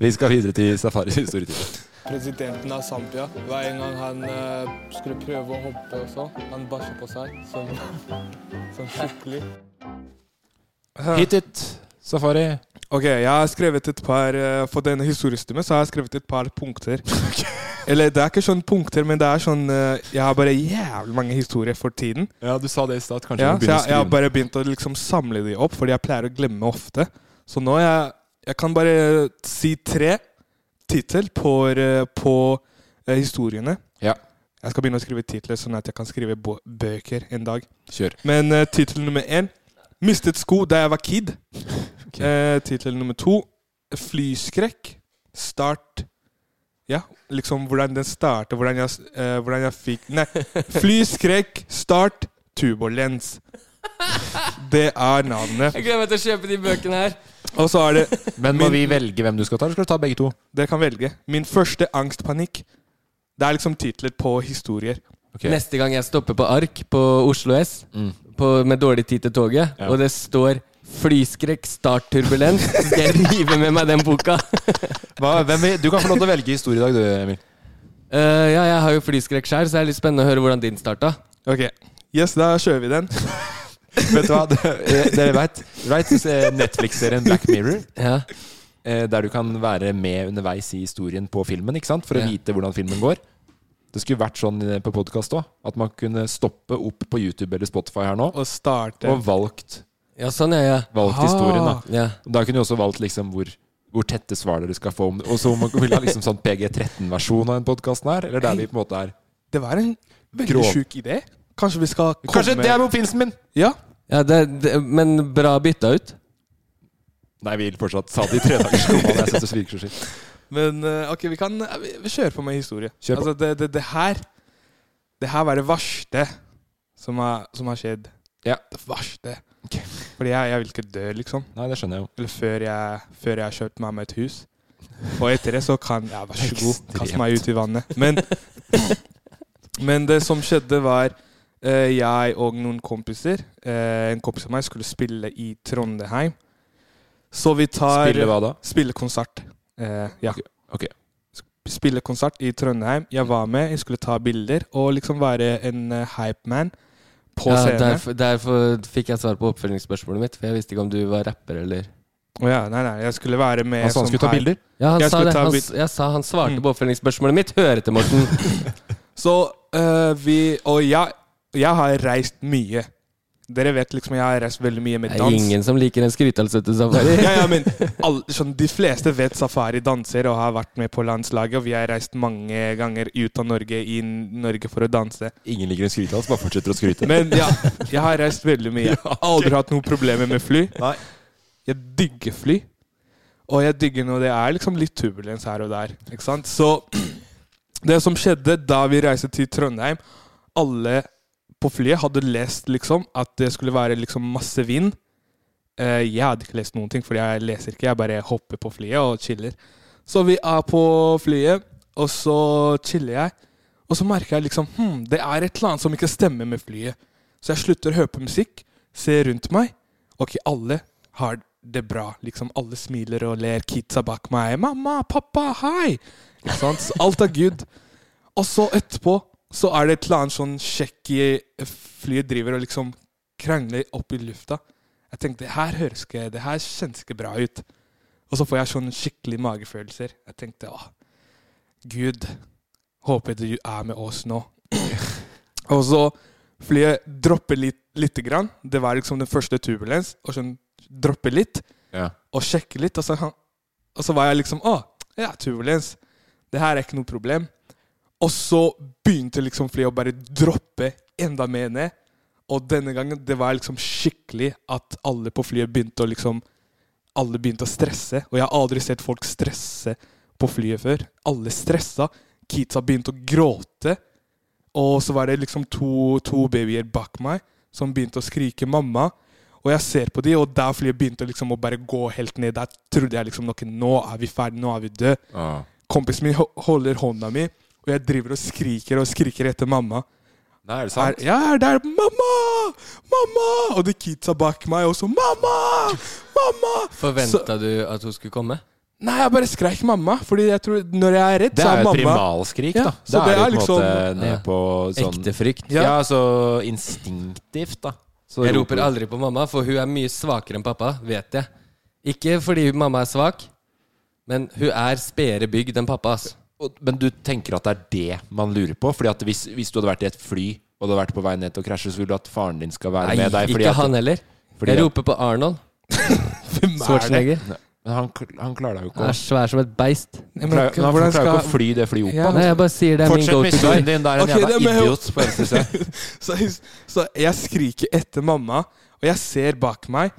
Speaker 5: Vi skal videre til Safari historietid.
Speaker 4: Presidenten av Zambia. Hver gang han eh, skulle prøve å hoppe og sånn, han bæsja på seg sånn, skikkelig.
Speaker 5: Hit it, Safari.
Speaker 4: Ok, jeg har skrevet et par eh, For denne historiestimen så har jeg skrevet et par punkter. Eller det er ikke sånn punkter, men det er sånn eh, Jeg har bare jævlig mange historier for tiden.
Speaker 5: Ja, du sa det i stad. Kanskje du
Speaker 4: Ja, så
Speaker 5: begynner å
Speaker 4: jeg, jeg har
Speaker 5: skrive.
Speaker 4: bare begynt å liksom samle de opp, fordi jeg pleier å glemme ofte. Så nå jeg, jeg kan bare si tre tittel på, eh, på eh, historiene.
Speaker 5: Ja.
Speaker 4: Jeg skal begynne å skrive titler, sånn at jeg kan skrive bo- bøker en dag.
Speaker 5: Kjør.
Speaker 4: Men uh, tittel nummer én Mistet sko da jeg var kid. Eh, tittel nummer to Flyskrekk. Start Ja, liksom hvordan den starter, hvordan jeg, s- eh, hvordan jeg fikk Nei. Flyskrekk, start, turbulens. Det er navnet.
Speaker 13: Jeg gleder meg til å kjøpe de bøkene her.
Speaker 4: Og så er det
Speaker 5: Men må vi velge hvem du skal ta? Eller skal du ta begge to?
Speaker 4: Dere kan velge. Min første angstpanikk. Det er liksom titler på historier.
Speaker 13: Neste gang jeg stopper på ARK på Oslo S
Speaker 5: Mm.
Speaker 13: på, med dårlig tid til toget, og det står 'Flyskrekk, start turbulens', så skal jeg rive med meg den boka.
Speaker 5: Hva, hvem vil, du kan få lov til å velge historie i dag, du, Emil.
Speaker 13: Eh, ja, jeg har jo flyskrekk sjøl, så det er litt spennende å høre hvordan din starta.
Speaker 4: Ok, yes, da kjører vi den.
Speaker 5: Vet du hva, Eh, dere vet, Right, eh, Netflix-serien Black Mirror. Eh, Der du kan være med underveis i historien på filmen ikke sant? for å
Speaker 13: Ja.
Speaker 5: vite hvordan filmen går. Det skulle vært sånn eh, på podkast òg. At man kunne stoppe opp på YouTube eller Spotify her nå
Speaker 4: og starte
Speaker 5: og valgt,
Speaker 13: Ja, sånn er jeg.
Speaker 5: valgt
Speaker 13: Ah.
Speaker 5: historien. Da
Speaker 13: Ja.
Speaker 5: Da kunne du også valgt liksom hvor, hvor tette svar dere skal få. om- Og så om man ville ha liksom sånn PG13-versjon av den podkasten her. Eller der vi på en måte er
Speaker 4: Det var en veldig
Speaker 5: Grov.
Speaker 4: sjuk idé. Kanskje vi skal komme
Speaker 5: Kanskje det er oppfinnelsen min!
Speaker 4: Ja.
Speaker 13: Ja, det, det, men bra bytta ut.
Speaker 5: Nei, vi vil fortsatt sa det i tredagerskomaen. Jeg syns det virker så skitt.
Speaker 4: Men eh, ok, vi kan eh, vi- vi kjører på med historie.
Speaker 5: Kjør på.
Speaker 4: Altså, det, det, det her Det her var det verste som har, som har skjedd.
Speaker 5: Ja.
Speaker 4: Det verste. Fordi jeg, jeg vil ikke dø, liksom.
Speaker 5: Nei, det skjønner jeg jo.
Speaker 4: Eller før jeg, før jeg har kjøpt meg med et hus. Og etter det så kan Ja, vær så god, kast meg ut i vannet. Men, men det som skjedde, var eh, jeg og noen kompiser eh, En kompis av meg skulle spille i Trondheim. Så vi tar
Speaker 5: Spille hva da?
Speaker 4: Spille konsert. Eh, ja.
Speaker 5: Ok.
Speaker 4: Sp- Spille konsert i Trondheim. Jeg var med, jeg skulle ta bilder og liksom være en eh, hypeman på
Speaker 13: ja,
Speaker 4: scenen.
Speaker 13: Derfor, derfor fikk jeg svar på oppfølgingsspørsmålet mitt, for jeg visste ikke om du var rapper eller
Speaker 4: Å ja, nei, nei, jeg skulle være med
Speaker 13: Han sa han
Speaker 4: som
Speaker 13: skulle ta
Speaker 4: hype.
Speaker 13: bilder? Ja, han
Speaker 4: Jeg
Speaker 13: sa
Speaker 4: skulle
Speaker 13: det.
Speaker 4: ta
Speaker 13: Han
Speaker 4: bil-
Speaker 13: s- jeg sa han svarte på oppfølgingsspørsmålet mitt. Hør etter, Morten.
Speaker 4: Så øh, vi Og jeg, jeg har reist mye. Dere vet liksom jeg har reist veldig mye med
Speaker 13: Det
Speaker 4: dans.
Speaker 13: er ingen som liker en skrytalsete safari.
Speaker 4: ja, ja, men alle- sånn, De fleste vet Safari danser og har vært med på landslaget. Og vi har reist mange ganger ut av Norge, i Norge for å danse.
Speaker 5: Ingen liker en skrytehals, bare fortsetter å skryte.
Speaker 4: Men ja, jeg har reist veldig mye. Aldri hatt noen problemer med fly. Jeg digger fly. Og jeg digger når det er liksom litt turbulens her og der. Ikke sant? Så det som skjedde da vi reiste til Trondheim Alle på flyet hadde lest liksom at det skulle være liksom masse vind. Eh, jeg hadde ikke lest noen ting, for jeg leser ikke. Jeg bare hopper på flyet og chiller. Så vi er på flyet, og så chiller jeg. Og så merker jeg liksom hm, det er et eller annet som ikke stemmer med flyet. Så jeg slutter å høre på musikk, ser rundt meg. Ok, alle har det bra. Liksom Alle smiler og ler. Kidsa bak meg. 'Mamma, pappa, hei!' Ikke sant? Så Alt er good. Og så etterpå så er det et eller annet sånn sjekk i Flyet driver og liksom krangler opp i lufta. Jeg tenkte det her høres ikke Det her kjennes ikke bra ut. Og så får jeg sånn skikkelig magefølelser. Jeg tenkte åh, Gud, håper du er med oss nå. og så flyet dropper litt, lite grann. Det var liksom den første turbulens. Og sånn dropper litt,
Speaker 5: Ja.
Speaker 4: og sjekker litt. Og så, og så var jeg liksom åh, ja, turbulens. Det her er ikke noe problem. Og så begynte liksom flyet å bare droppe enda mer ned. Og denne gangen det var liksom skikkelig at alle på flyet begynte å liksom Alle begynte å stresse. Og jeg har aldri sett folk stresse på flyet før. Alle stressa. Kidsa begynte å gråte. Og så var det liksom to, to babyer bak meg som begynte å skrike 'mamma'. Og jeg ser på de, og der flyet begynte liksom å bare gå helt ned. Der trodde jeg liksom noe, nå er vi ferdig, nå er vi døde. Kompisen min ho- holder hånda mi, og jeg driver og skriker og skriker etter mamma.
Speaker 5: Nei, er det sant?
Speaker 4: ja, jeg er der. Mamma! Mamma! Og de kidsa bak meg også. Mamma! Mamma!
Speaker 14: Forventa du at hun skulle komme?
Speaker 4: Nei, jeg bare skreik mamma. Fordi jeg tror når jeg er redd,
Speaker 5: Det
Speaker 4: så
Speaker 5: er
Speaker 4: er
Speaker 5: jo
Speaker 4: mamma
Speaker 5: et primalskrik, da.
Speaker 4: Ja, så
Speaker 5: da er det jo på en
Speaker 4: liksom-
Speaker 5: måte ned på sånn
Speaker 14: Ekte frykt.
Speaker 5: Ja, så instinktivt, da. Så
Speaker 14: jeg roper aldri på mamma, for hun er mye svakere enn pappa, vet jeg. Ikke fordi mamma er svak, men hun er spedere bygd enn pappa. ass.
Speaker 5: Og- Men du tenker at det er det man lurer på? Fordi at hvis, hvis du hadde vært i et fly og du hadde vært på vei ned til å krasje, så ville du at faren din skal være
Speaker 14: Nei,
Speaker 5: med deg?
Speaker 14: ikke han heller. Jeg roper på Arnold. Schwarzenegger.
Speaker 5: Nei, Men han, kl- han klarer deg jo ikke
Speaker 14: Han er svær som et beist.
Speaker 5: men Klarer- han hvordan klarer jo ikke å fly det flyet opp, altså. da.
Speaker 14: Nei, jeg bare sier det er min
Speaker 5: Fortsett
Speaker 14: go
Speaker 5: med
Speaker 14: to guy.
Speaker 5: historien din, det er en
Speaker 4: Ok,
Speaker 5: jævla
Speaker 4: det med-
Speaker 5: idiot på venstre side.
Speaker 4: så, jeg- så jeg skriker etter mamma, og jeg ser bak meg.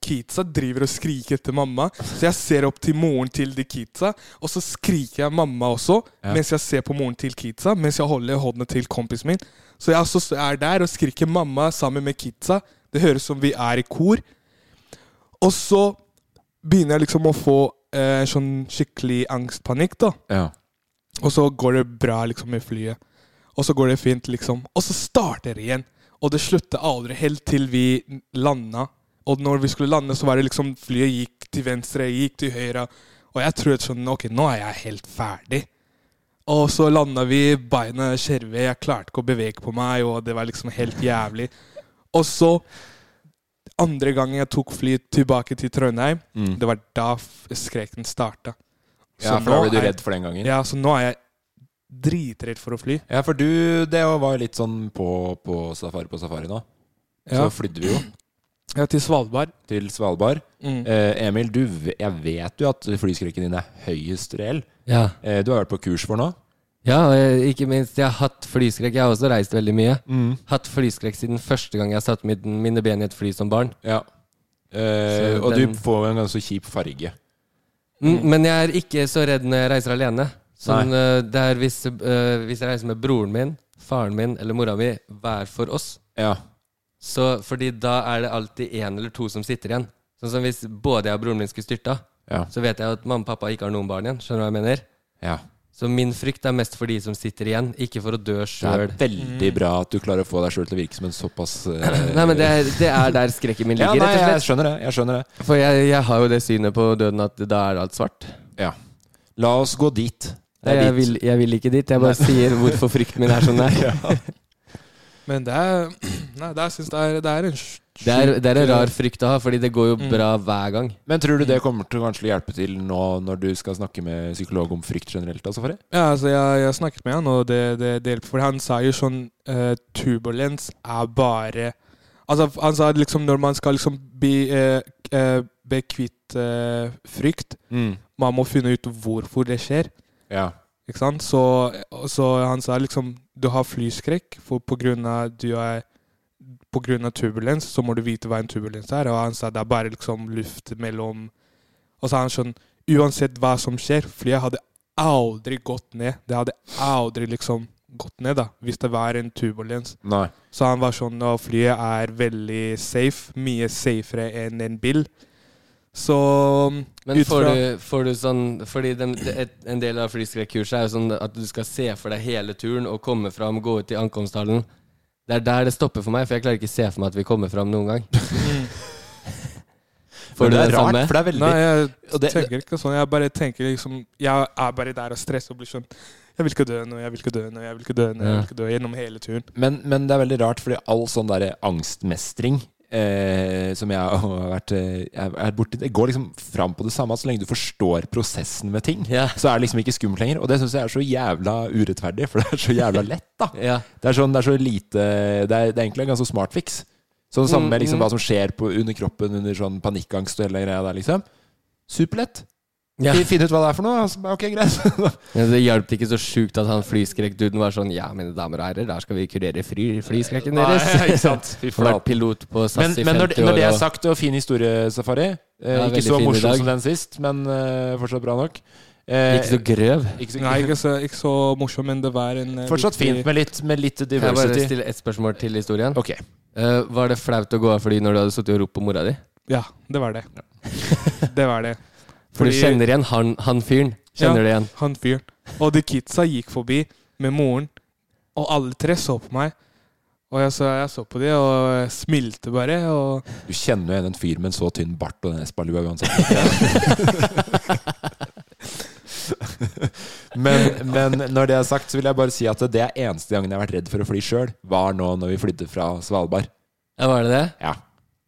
Speaker 4: Kidsa driver og skriker etter mamma, så jeg ser opp til moren til de kidsa. Og så skriker jeg mamma også,
Speaker 5: Ja.
Speaker 4: mens jeg ser på moren til kidsa. Mens jeg holder hånda til kompisen min. Så jeg også er der og skriker mamma sammen med kidsa. Det høres som vi er i kor. Og så begynner jeg liksom å få eh, sånn skikkelig angstpanikk, da. Og så går det bra liksom med flyet. Og så går det fint, liksom. Og så starter det igjen. Og det slutta aldri helt til vi landa. Og når vi skulle lande, så var det liksom Flyet gikk til venstre, gikk til høyre. Og jeg trodde sånn Ok, nå er jeg helt ferdig. Og så landa vi, beina skjerve, jeg klarte ikke å bevege på meg, og det var liksom helt jævlig. Og så Andre gangen jeg tok fly tilbake til Trondheim,
Speaker 5: Mm.
Speaker 4: det var da f- skreken starta.
Speaker 5: Ja, for da
Speaker 4: nå
Speaker 5: ble du
Speaker 4: er-
Speaker 5: redd for den gangen.
Speaker 4: Ja, så nå er jeg dritredd for å fly.
Speaker 5: Ja, for du Det var jo litt sånn på, på safari på safari nå.
Speaker 4: Ja.
Speaker 5: Så flydde vi jo.
Speaker 4: Ja, til Svalbard.
Speaker 5: til Svalbard.
Speaker 4: Mm.
Speaker 5: Eh, Emil, du, v- jeg vet jo at flyskrekken din er høyest reell.
Speaker 14: Ja.
Speaker 5: Eh, du har vært på kurs for nå.
Speaker 14: Ja, og jeg- ikke minst. Jeg har hatt flyskrekk. Jeg har også reist veldig mye.
Speaker 5: Mm.
Speaker 14: Hatt flyskrekk siden første gang jeg satte mine, mine ben i et fly som barn.
Speaker 5: Ja. Eh,
Speaker 14: Så
Speaker 5: og
Speaker 14: den-
Speaker 5: du får jo en ganske kjip farge.
Speaker 14: Mm, men jeg er ikke så redd når jeg reiser alene. Sånn, eh, det er hvis, eh, hvis jeg reiser med broren min, faren min eller mora mi hver for oss.
Speaker 5: Ja.
Speaker 14: Så, fordi da er det alltid én eller to som sitter igjen. Sånn som hvis både jeg og broren min skulle styrta,
Speaker 5: Ja.
Speaker 14: så vet jeg at mamma og pappa ikke har noen barn igjen. Skjønner du hva jeg mener?
Speaker 5: Ja.
Speaker 14: Så min frykt er mest for de som sitter igjen, ikke for å dø
Speaker 5: Det er
Speaker 14: sjøl.
Speaker 5: veldig bra at du klarer å få deg sjøl til å virke som en såpass eh,
Speaker 14: Mm. Nei, men det er, det er der skrekken min
Speaker 5: Ja,
Speaker 14: ligger,
Speaker 5: nei,
Speaker 14: rett og
Speaker 5: jeg
Speaker 14: slett.
Speaker 5: skjønner det. Jeg skjønner det.
Speaker 14: For jeg, jeg har jo det synet på døden at da er alt svart.
Speaker 5: Ja. La oss gå dit.
Speaker 14: Nei, jeg, vil, jeg vil ikke dit. Jeg bare sier hvorfor frykten min er sånn der.
Speaker 4: Men det er Nei, det er- jeg synes det er, det er en sj- Mm.
Speaker 14: Det er, det er en rar frykt å ha, fordi det går jo bra hver gang.
Speaker 5: Men tror du det kommer til å kanskje hjelpe til nå når du skal snakke med psykolog om frykt generelt? da, Safari?
Speaker 4: Ja, altså, jeg, jeg snakket med han, og det, det, det hjelper. For han sa jo sånn eh, Turbulens er bare Altså, han sa liksom når man skal liksom bli eh, eh, bli kvitt eh, frykt,
Speaker 5: Mm.
Speaker 4: man må finne ut hvorfor det skjer.
Speaker 5: Ja.
Speaker 4: Ikke sant? Så, så han sa liksom Du har flyskrekk, for på grunn av du er på grunn av turbulens, så må du vite hva en turbulens er. Og han sa det er bare liksom luft mellom Og så er han sånn Uansett hva som skjer, flyet hadde aldri gått ned. Det hadde aldri liksom gått ned, da, hvis det var en turbulens.
Speaker 5: Nei.
Speaker 4: Så han var sånn Og flyet er veldig safe. Mye safere enn en bil. Så
Speaker 14: Men
Speaker 4: ut
Speaker 14: får
Speaker 4: fra-
Speaker 14: du, får du sånn Fordi dem- det, et, en del av flyskrekkurset er jo sånn at du skal se for deg hele turen og komme fram, gå ut i ankomsthallen. Det er der det stopper for meg, for jeg klarer ikke se for meg at vi kommer fram noen gang. Får
Speaker 5: Mm. Men
Speaker 14: du
Speaker 5: det er
Speaker 14: det
Speaker 5: rart,
Speaker 14: samme?
Speaker 5: for det er veldig-
Speaker 4: sånn Nei, jeg
Speaker 5: Og det-
Speaker 4: tenker ikke sånn. Jeg bare tenker liksom Jeg er bare der og stresser og blir sånn Jeg vil ikke dø nå, jeg vil ikke dø nå, jeg vil ikke dø nå, jeg vil ikke dø gjennom hele turen.
Speaker 5: Men, men det er veldig rart, fordi all sånn der angstmestring eh, som jeg har vært eh, er er borti Det går liksom fram på det samme, at så lenge du forstår prosessen med ting, så er det liksom ikke skummelt lenger. Og det syns jeg er så jævla urettferdig, for det er så jævla lett, da. Det er sånn, det er så lite Det er, det er egentlig en ganske smart fix. Så det samme med liksom,
Speaker 4: Mm,
Speaker 5: hva
Speaker 4: mm.
Speaker 5: som skjer på, under kroppen under sånn panikkangst og hele greia der, liksom. Superlett.
Speaker 4: Ja.
Speaker 5: Fin- Finn ut hva det er for noe. og så bare, Ok, greit.
Speaker 4: Ja, det hjalp ikke så sjukt at han flyskrekkduden var sånn Ja, mine damer og herrer, der skal vi kurere fly, flyskrekken
Speaker 5: Nei,
Speaker 4: deres.
Speaker 5: ikke sant. Fy
Speaker 4: Han har
Speaker 5: flate.
Speaker 4: vært pilot på SAS
Speaker 5: Men,
Speaker 4: i 50
Speaker 5: men når, når det
Speaker 4: år.
Speaker 5: er
Speaker 4: og-
Speaker 5: sagt, det var fin historie, Safari. Eh,
Speaker 4: Ja,
Speaker 5: ikke
Speaker 4: veldig
Speaker 5: så
Speaker 4: fin i
Speaker 5: morsom
Speaker 4: dag.
Speaker 5: som den sist, men eh, fortsatt bra nok. Eh,
Speaker 4: Ikke så grøv.
Speaker 5: Ikke så,
Speaker 6: Nei, ikke så, ikke så morsom, men det var en eh,
Speaker 5: Fortsatt
Speaker 6: viktig-
Speaker 5: fint med litt, med litt
Speaker 4: Kan Jeg bare
Speaker 5: diversity.
Speaker 4: stille ett spørsmål til historien. Eh,
Speaker 5: Ok
Speaker 4: Var det flaut å gå av fly når du hadde sittet og ropt på mora di?
Speaker 6: Ja, det var det. det var det.
Speaker 4: For du kjenner igjen han, han fyren? Kjenner du igjen?
Speaker 6: Han fyren. Og de kidsa gikk forbi med moren, og alle tre så på meg. Og jeg så, jeg så på de og smilte bare. Og
Speaker 5: Du kjenner jo igjen en fyr med en så tynn bart og den espalua uansett. men, men når det er sagt, så vil jeg bare si at det er eneste gangen jeg har vært redd for å fly sjøl, var nå når vi flydde fra Svalbard.
Speaker 4: Ja, Var det det?
Speaker 5: Ja.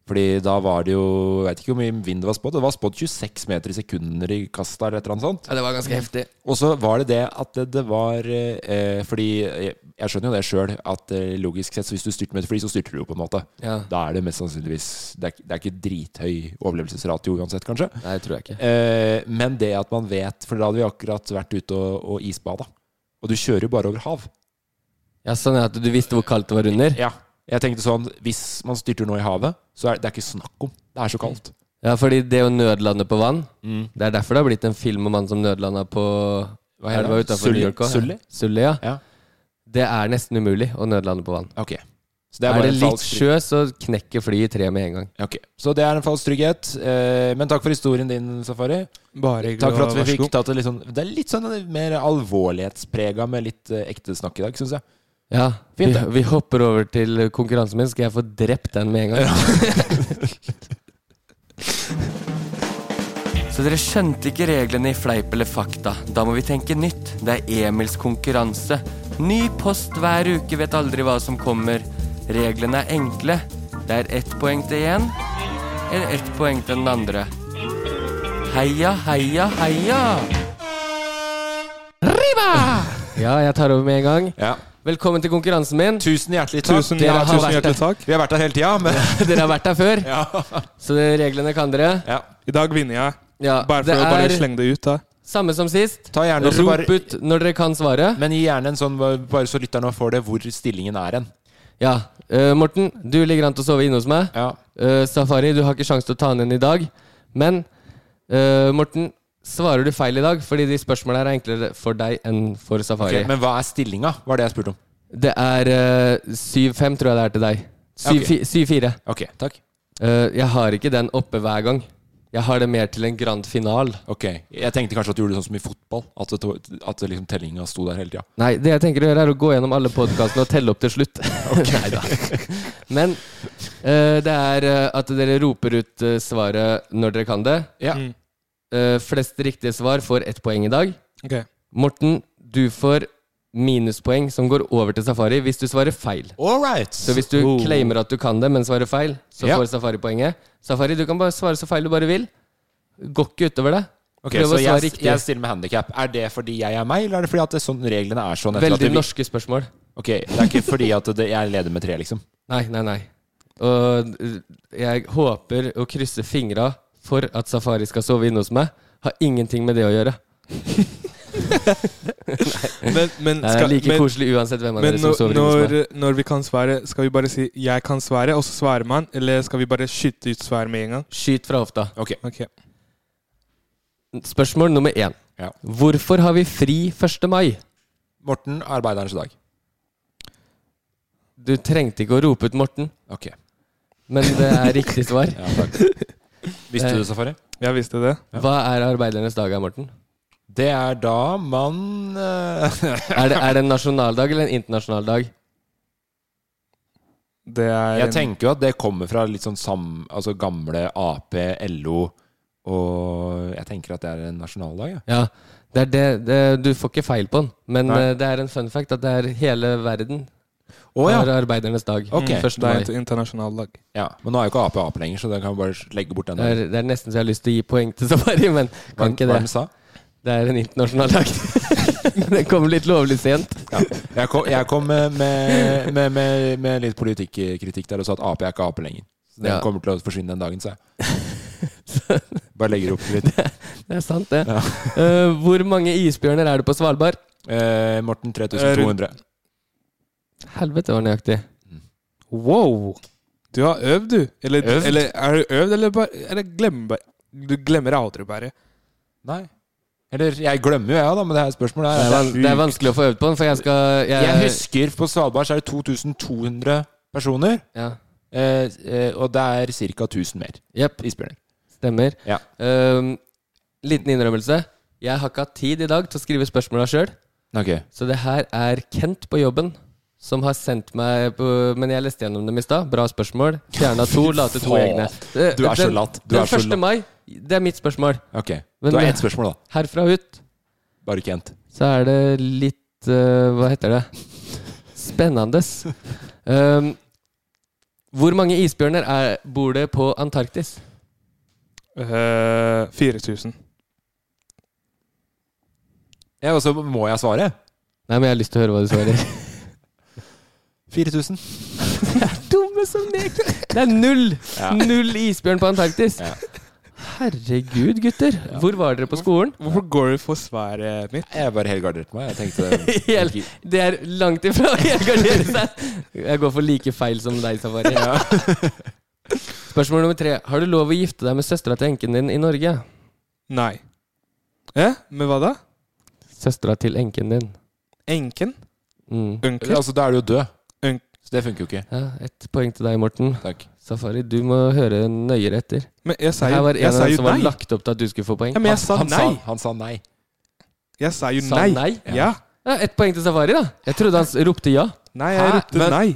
Speaker 5: Fordi da var det jo Jeg vet ikke hvor mye vind det var spådd. Det var spådd 26 meter i sekunder i kasta eller et eller annet sånt.
Speaker 4: Ja, det var ganske heftig.
Speaker 5: Og så var det det at det, det var eh, Fordi jeg, jeg skjønner jo det sjøl, at eh, logisk sett, så hvis du styrter med et fly, så styrter du jo, på en måte.
Speaker 4: Ja.
Speaker 5: Da er det mest sannsynligvis Det er, ikke- det er ikke drithøy overlevelsesratio uansett, kanskje.
Speaker 4: Nei, tror jeg ikke.
Speaker 5: Eh, men det at man vet For da hadde vi akkurat vært ute og, og isbada. Og du kjører jo bare over hav.
Speaker 4: Ja, Sånn at du visste hvor kaldt det var under?
Speaker 5: Ja. Jeg tenkte sånn Hvis man styrter nå i havet, så er det er ikke snakk om. Det er så kaldt.
Speaker 4: Ja, fordi det å nødlande på vann
Speaker 5: Mm.
Speaker 4: Det er derfor det har blitt en film om han som nødlanda på
Speaker 5: heter
Speaker 4: elva
Speaker 5: det?
Speaker 4: utenfor New
Speaker 5: Sully-
Speaker 4: York også.
Speaker 5: Sully?
Speaker 4: Sully, ja.
Speaker 5: Ja.
Speaker 4: Det er nesten umulig å nødlande på vann.
Speaker 5: Ok det
Speaker 4: det
Speaker 5: er
Speaker 4: er,
Speaker 5: bare en
Speaker 4: det litt
Speaker 5: falsk
Speaker 4: sjø, så knekker flyet i tre med en gang.
Speaker 5: Ok, Så det er en falsk trygghet. Eh, men takk for historien din, Safari.
Speaker 6: Bare hyggelig,
Speaker 5: Takk for at
Speaker 6: og vær
Speaker 5: vi
Speaker 6: så
Speaker 5: fikk
Speaker 6: god.
Speaker 5: tatt det litt sånn Det er litt sånn mer alvorlighetsprega med litt eh, ekte snakk i dag, syns jeg.
Speaker 4: Ja, vi,
Speaker 5: Fint, det.
Speaker 4: vi hopper over til konkurransen min. Skal jeg få drept den med en gang? Så dere skjønte ikke reglene i Fleip eller fakta. Da må vi tenke nytt. Det er Emils konkurranse. Ny post hver uke, vet aldri hva som kommer. Reglene er enkle. Det er ett poeng til én, eller ett poeng til den andre. Heia, heia, heia! Ja, jeg tar over med en gang. Velkommen til konkurransen min.
Speaker 5: Tusen hjertelig
Speaker 6: takk. Tusen- ja, tusen hjertelig takk.
Speaker 5: Vi har vært her hele tida, men
Speaker 4: Dere har vært her før, så det- reglene kan dere.
Speaker 6: I dag vinner jeg.
Speaker 4: Ja,
Speaker 6: Bare for
Speaker 4: det
Speaker 6: å bare
Speaker 4: er-
Speaker 6: slenge det ut. da
Speaker 4: Samme som sist.
Speaker 5: Ta gjerne også
Speaker 4: Rop
Speaker 5: bare-
Speaker 4: ut når dere kan svare.
Speaker 5: Men gi gjerne en sånn, bare så lytterne får det, hvor stillingen er hen.
Speaker 4: Ja. eh, Morten, du ligger an til å sove inne hos meg. Eh, Safari, du har ikke sjanse til å ta han inn i dag. Men eh, Morten, svarer du feil i dag? Fordi de spørsmålene her er enklere for deg enn for Safari.
Speaker 5: Ok, men hva er stillinga? Var det jeg spurte om.
Speaker 4: Det er eh, 7-5, tror jeg det er til deg.
Speaker 5: Ja, ok.
Speaker 4: 7-4.
Speaker 5: Ok, takk.
Speaker 4: Eh, jeg har ikke den oppe hver gang. Jeg har det mer til en grand final.
Speaker 5: Ok, Jeg tenkte kanskje at du gjorde det sånn som i fotball. At, det, to- at det liksom tellinga sto der hele tida.
Speaker 4: Nei, det jeg tenker å gjøre er å gå gjennom alle podkastene og telle opp til slutt. Neida. Men eh, det er eh, at dere roper ut eh, svaret når dere kan det.
Speaker 5: Ja. Mm.
Speaker 4: Eh, flest riktige svar får ett poeng i dag.
Speaker 6: Ok.
Speaker 4: Morten, du får minuspoeng som går over til Safari hvis du svarer feil.
Speaker 5: All right.
Speaker 4: Så hvis du
Speaker 5: Oh.
Speaker 4: claimer at du kan det, men svarer feil, så
Speaker 5: Ja.
Speaker 4: får Safari poenget. Safari, du kan bare svare så feil du bare vil. Går ikke utover det.
Speaker 5: Ok, så jeg, jeg stiller med handikap. Er det fordi jeg er meg, eller er det fordi at det, er sånn, reglene er sånn? etter at
Speaker 4: Veldig
Speaker 5: vi-
Speaker 4: norske spørsmål.
Speaker 5: Ok, Det er ikke fordi at det, jeg leder med tre, liksom?
Speaker 4: Nei, nei, nei. Og uh, jeg håper og krysser fingra for at Safari skal sove inne hos meg. Har ingenting med det å gjøre.
Speaker 6: Men, men,
Speaker 4: Nei, det er
Speaker 6: skal-
Speaker 4: like
Speaker 6: men-
Speaker 4: koselig uansett hvem av
Speaker 6: men
Speaker 4: dere som
Speaker 6: når-
Speaker 4: sover inne hos
Speaker 6: når, når vi kan svare, skal vi bare si 'jeg kan svare', og så svarer man? Eller skal vi bare skyte ut svaret med en gang?
Speaker 4: Skyt fra hofta.
Speaker 5: Ok.
Speaker 4: Spørsmål nummer én.
Speaker 5: Ja.
Speaker 4: Hvorfor har vi fri 1. mai?
Speaker 5: Morten, arbeiderens dag.
Speaker 4: Du trengte ikke å rope ut Morten.
Speaker 5: Ok.
Speaker 4: Men det er riktig svar.
Speaker 5: Ja, takk. Visste du det, Safari?
Speaker 6: Jeg visste det.
Speaker 4: Hva er arbeidernes dag, Morten?
Speaker 5: Det er da man eh,
Speaker 4: Er det, er det en nasjonaldag eller en internasjonal dag?
Speaker 6: Det er
Speaker 5: Jeg
Speaker 6: en-
Speaker 5: tenker jo at det kommer fra litt sånn sam, altså gamle Ap, LO og Jeg tenker at det er en nasjonaldag, ja.
Speaker 4: Ja, det er det, det, Du får ikke feil på den, men
Speaker 5: Nei.
Speaker 4: eh, det er en fun fact at det er hele verden
Speaker 5: Å, ja.
Speaker 4: Det er arbeidernes dag.
Speaker 5: Ok.
Speaker 4: Første
Speaker 5: Det er
Speaker 4: mai.
Speaker 5: et
Speaker 6: internasjonalt dag.
Speaker 5: Ja, Men nå er jo ikke Ap Ap lenger, så den kan vi bare legge bort den.
Speaker 4: Det er, det er nesten så jeg har lyst til å gi poeng til Safari, men
Speaker 5: Hva-
Speaker 4: kan ikke
Speaker 5: hva
Speaker 4: det.
Speaker 5: den sa?
Speaker 4: Det er en internasjonal dag. den kom litt lovlig sent.
Speaker 5: Jeg kom, jeg kom med, med, med, med, med litt politikkritikk der og sa at Ap er ikke Ap lenger. Så den
Speaker 4: Ja.
Speaker 5: kommer til å forsvinne den dagen, sa jeg. Bare legger opp litt.
Speaker 4: Det er sant, det. Eh, hvor mange isbjørner er det på Svalbard?
Speaker 5: Eh, Morten, 3200.
Speaker 4: Helvete, var nøyaktig.
Speaker 6: Wow! Du har øvd, du. Eller,
Speaker 4: Øvd?
Speaker 6: eller er du øvd, eller, bare, eller glemmer bare Du glemmer aldri bare.
Speaker 5: Nei. Eller jeg glemmer jo, jeg, da, men det her spørsmålet
Speaker 4: Det
Speaker 5: er,
Speaker 4: er, van det er vanskelig å få øvd på den, for jeg skal jeg,
Speaker 5: Jeg husker på Svalbard så er det 2200 personer. Eh, eh, og det er ca. 1000 mer
Speaker 4: Jepp.
Speaker 5: isbjørner.
Speaker 4: Stemmer.
Speaker 5: Ja.
Speaker 4: Ehm, liten innrømmelse. Jeg har ikke hatt tid i dag til å skrive spørsmåla sjøl.
Speaker 5: Ok.
Speaker 4: Så det her er Kent på jobben som har sendt meg på, Men jeg leste gjennom dem i stad. Bra spørsmål. Fjerna to, la til to
Speaker 5: Faen.
Speaker 4: egne.
Speaker 5: Du er så
Speaker 4: Den-
Speaker 5: latt. Du
Speaker 4: Den
Speaker 5: er så
Speaker 4: 1.
Speaker 5: latt.
Speaker 4: mai, det er mitt spørsmål.
Speaker 5: Ok,
Speaker 4: Men
Speaker 5: Du har
Speaker 4: det-
Speaker 5: ett spørsmål, da.
Speaker 4: Herfra ut
Speaker 5: Bare Kent.
Speaker 4: så er det litt eh, Hva heter det? Spennende. Um, hvor mange isbjørner er, bor det på Antarktis?
Speaker 6: Eh, 4000.
Speaker 5: Ja, og så må jeg svare.
Speaker 4: Nei, men jeg har lyst til å høre hva du svarer.
Speaker 5: 4000.
Speaker 4: Dumme som neker! Det er null!
Speaker 5: Ja.
Speaker 4: Null isbjørn på Antarktis! Herregud, gutter. Hvor var dere på skolen?
Speaker 6: Hvorfor går dere for svaret mitt?
Speaker 5: Jeg bare helgarderte meg. Jeg tenkte
Speaker 4: Hel, det er langt ifra å helgardere seg. Jeg går for like feil som deg, Safari. Spørsmål nummer tre. Har du lov å gifte deg med søstera til enken din i Norge?
Speaker 6: Nei. Eh, med hva da?
Speaker 4: Søstera til enken din.
Speaker 6: Enken?
Speaker 4: Mm.
Speaker 6: Onkel?
Speaker 5: Altså, da er du jo død.
Speaker 6: Unk-
Speaker 5: Så det funker jo ikke.
Speaker 4: Ja, ett poeng til deg, Morten.
Speaker 5: Takk.
Speaker 4: Safari, du må høre nøyere etter.
Speaker 6: Men jeg sa jo-
Speaker 4: Her var
Speaker 6: jeg
Speaker 4: en av
Speaker 6: sa
Speaker 4: dem
Speaker 6: jo
Speaker 4: som var
Speaker 6: nei.
Speaker 4: lagt opp til at du skulle få poeng.
Speaker 6: Ja, men jeg sa
Speaker 5: han,
Speaker 6: nei.
Speaker 5: Sa, han sa nei.
Speaker 6: Jeg sa jo
Speaker 4: Sa
Speaker 6: nei.
Speaker 4: nei?
Speaker 6: Ja.
Speaker 4: Ja, Ett poeng til Safari, da. Jeg trodde han s- ropte ja.
Speaker 6: Nei, jeg
Speaker 4: Hæ?
Speaker 6: ropte
Speaker 4: Men-
Speaker 6: nei.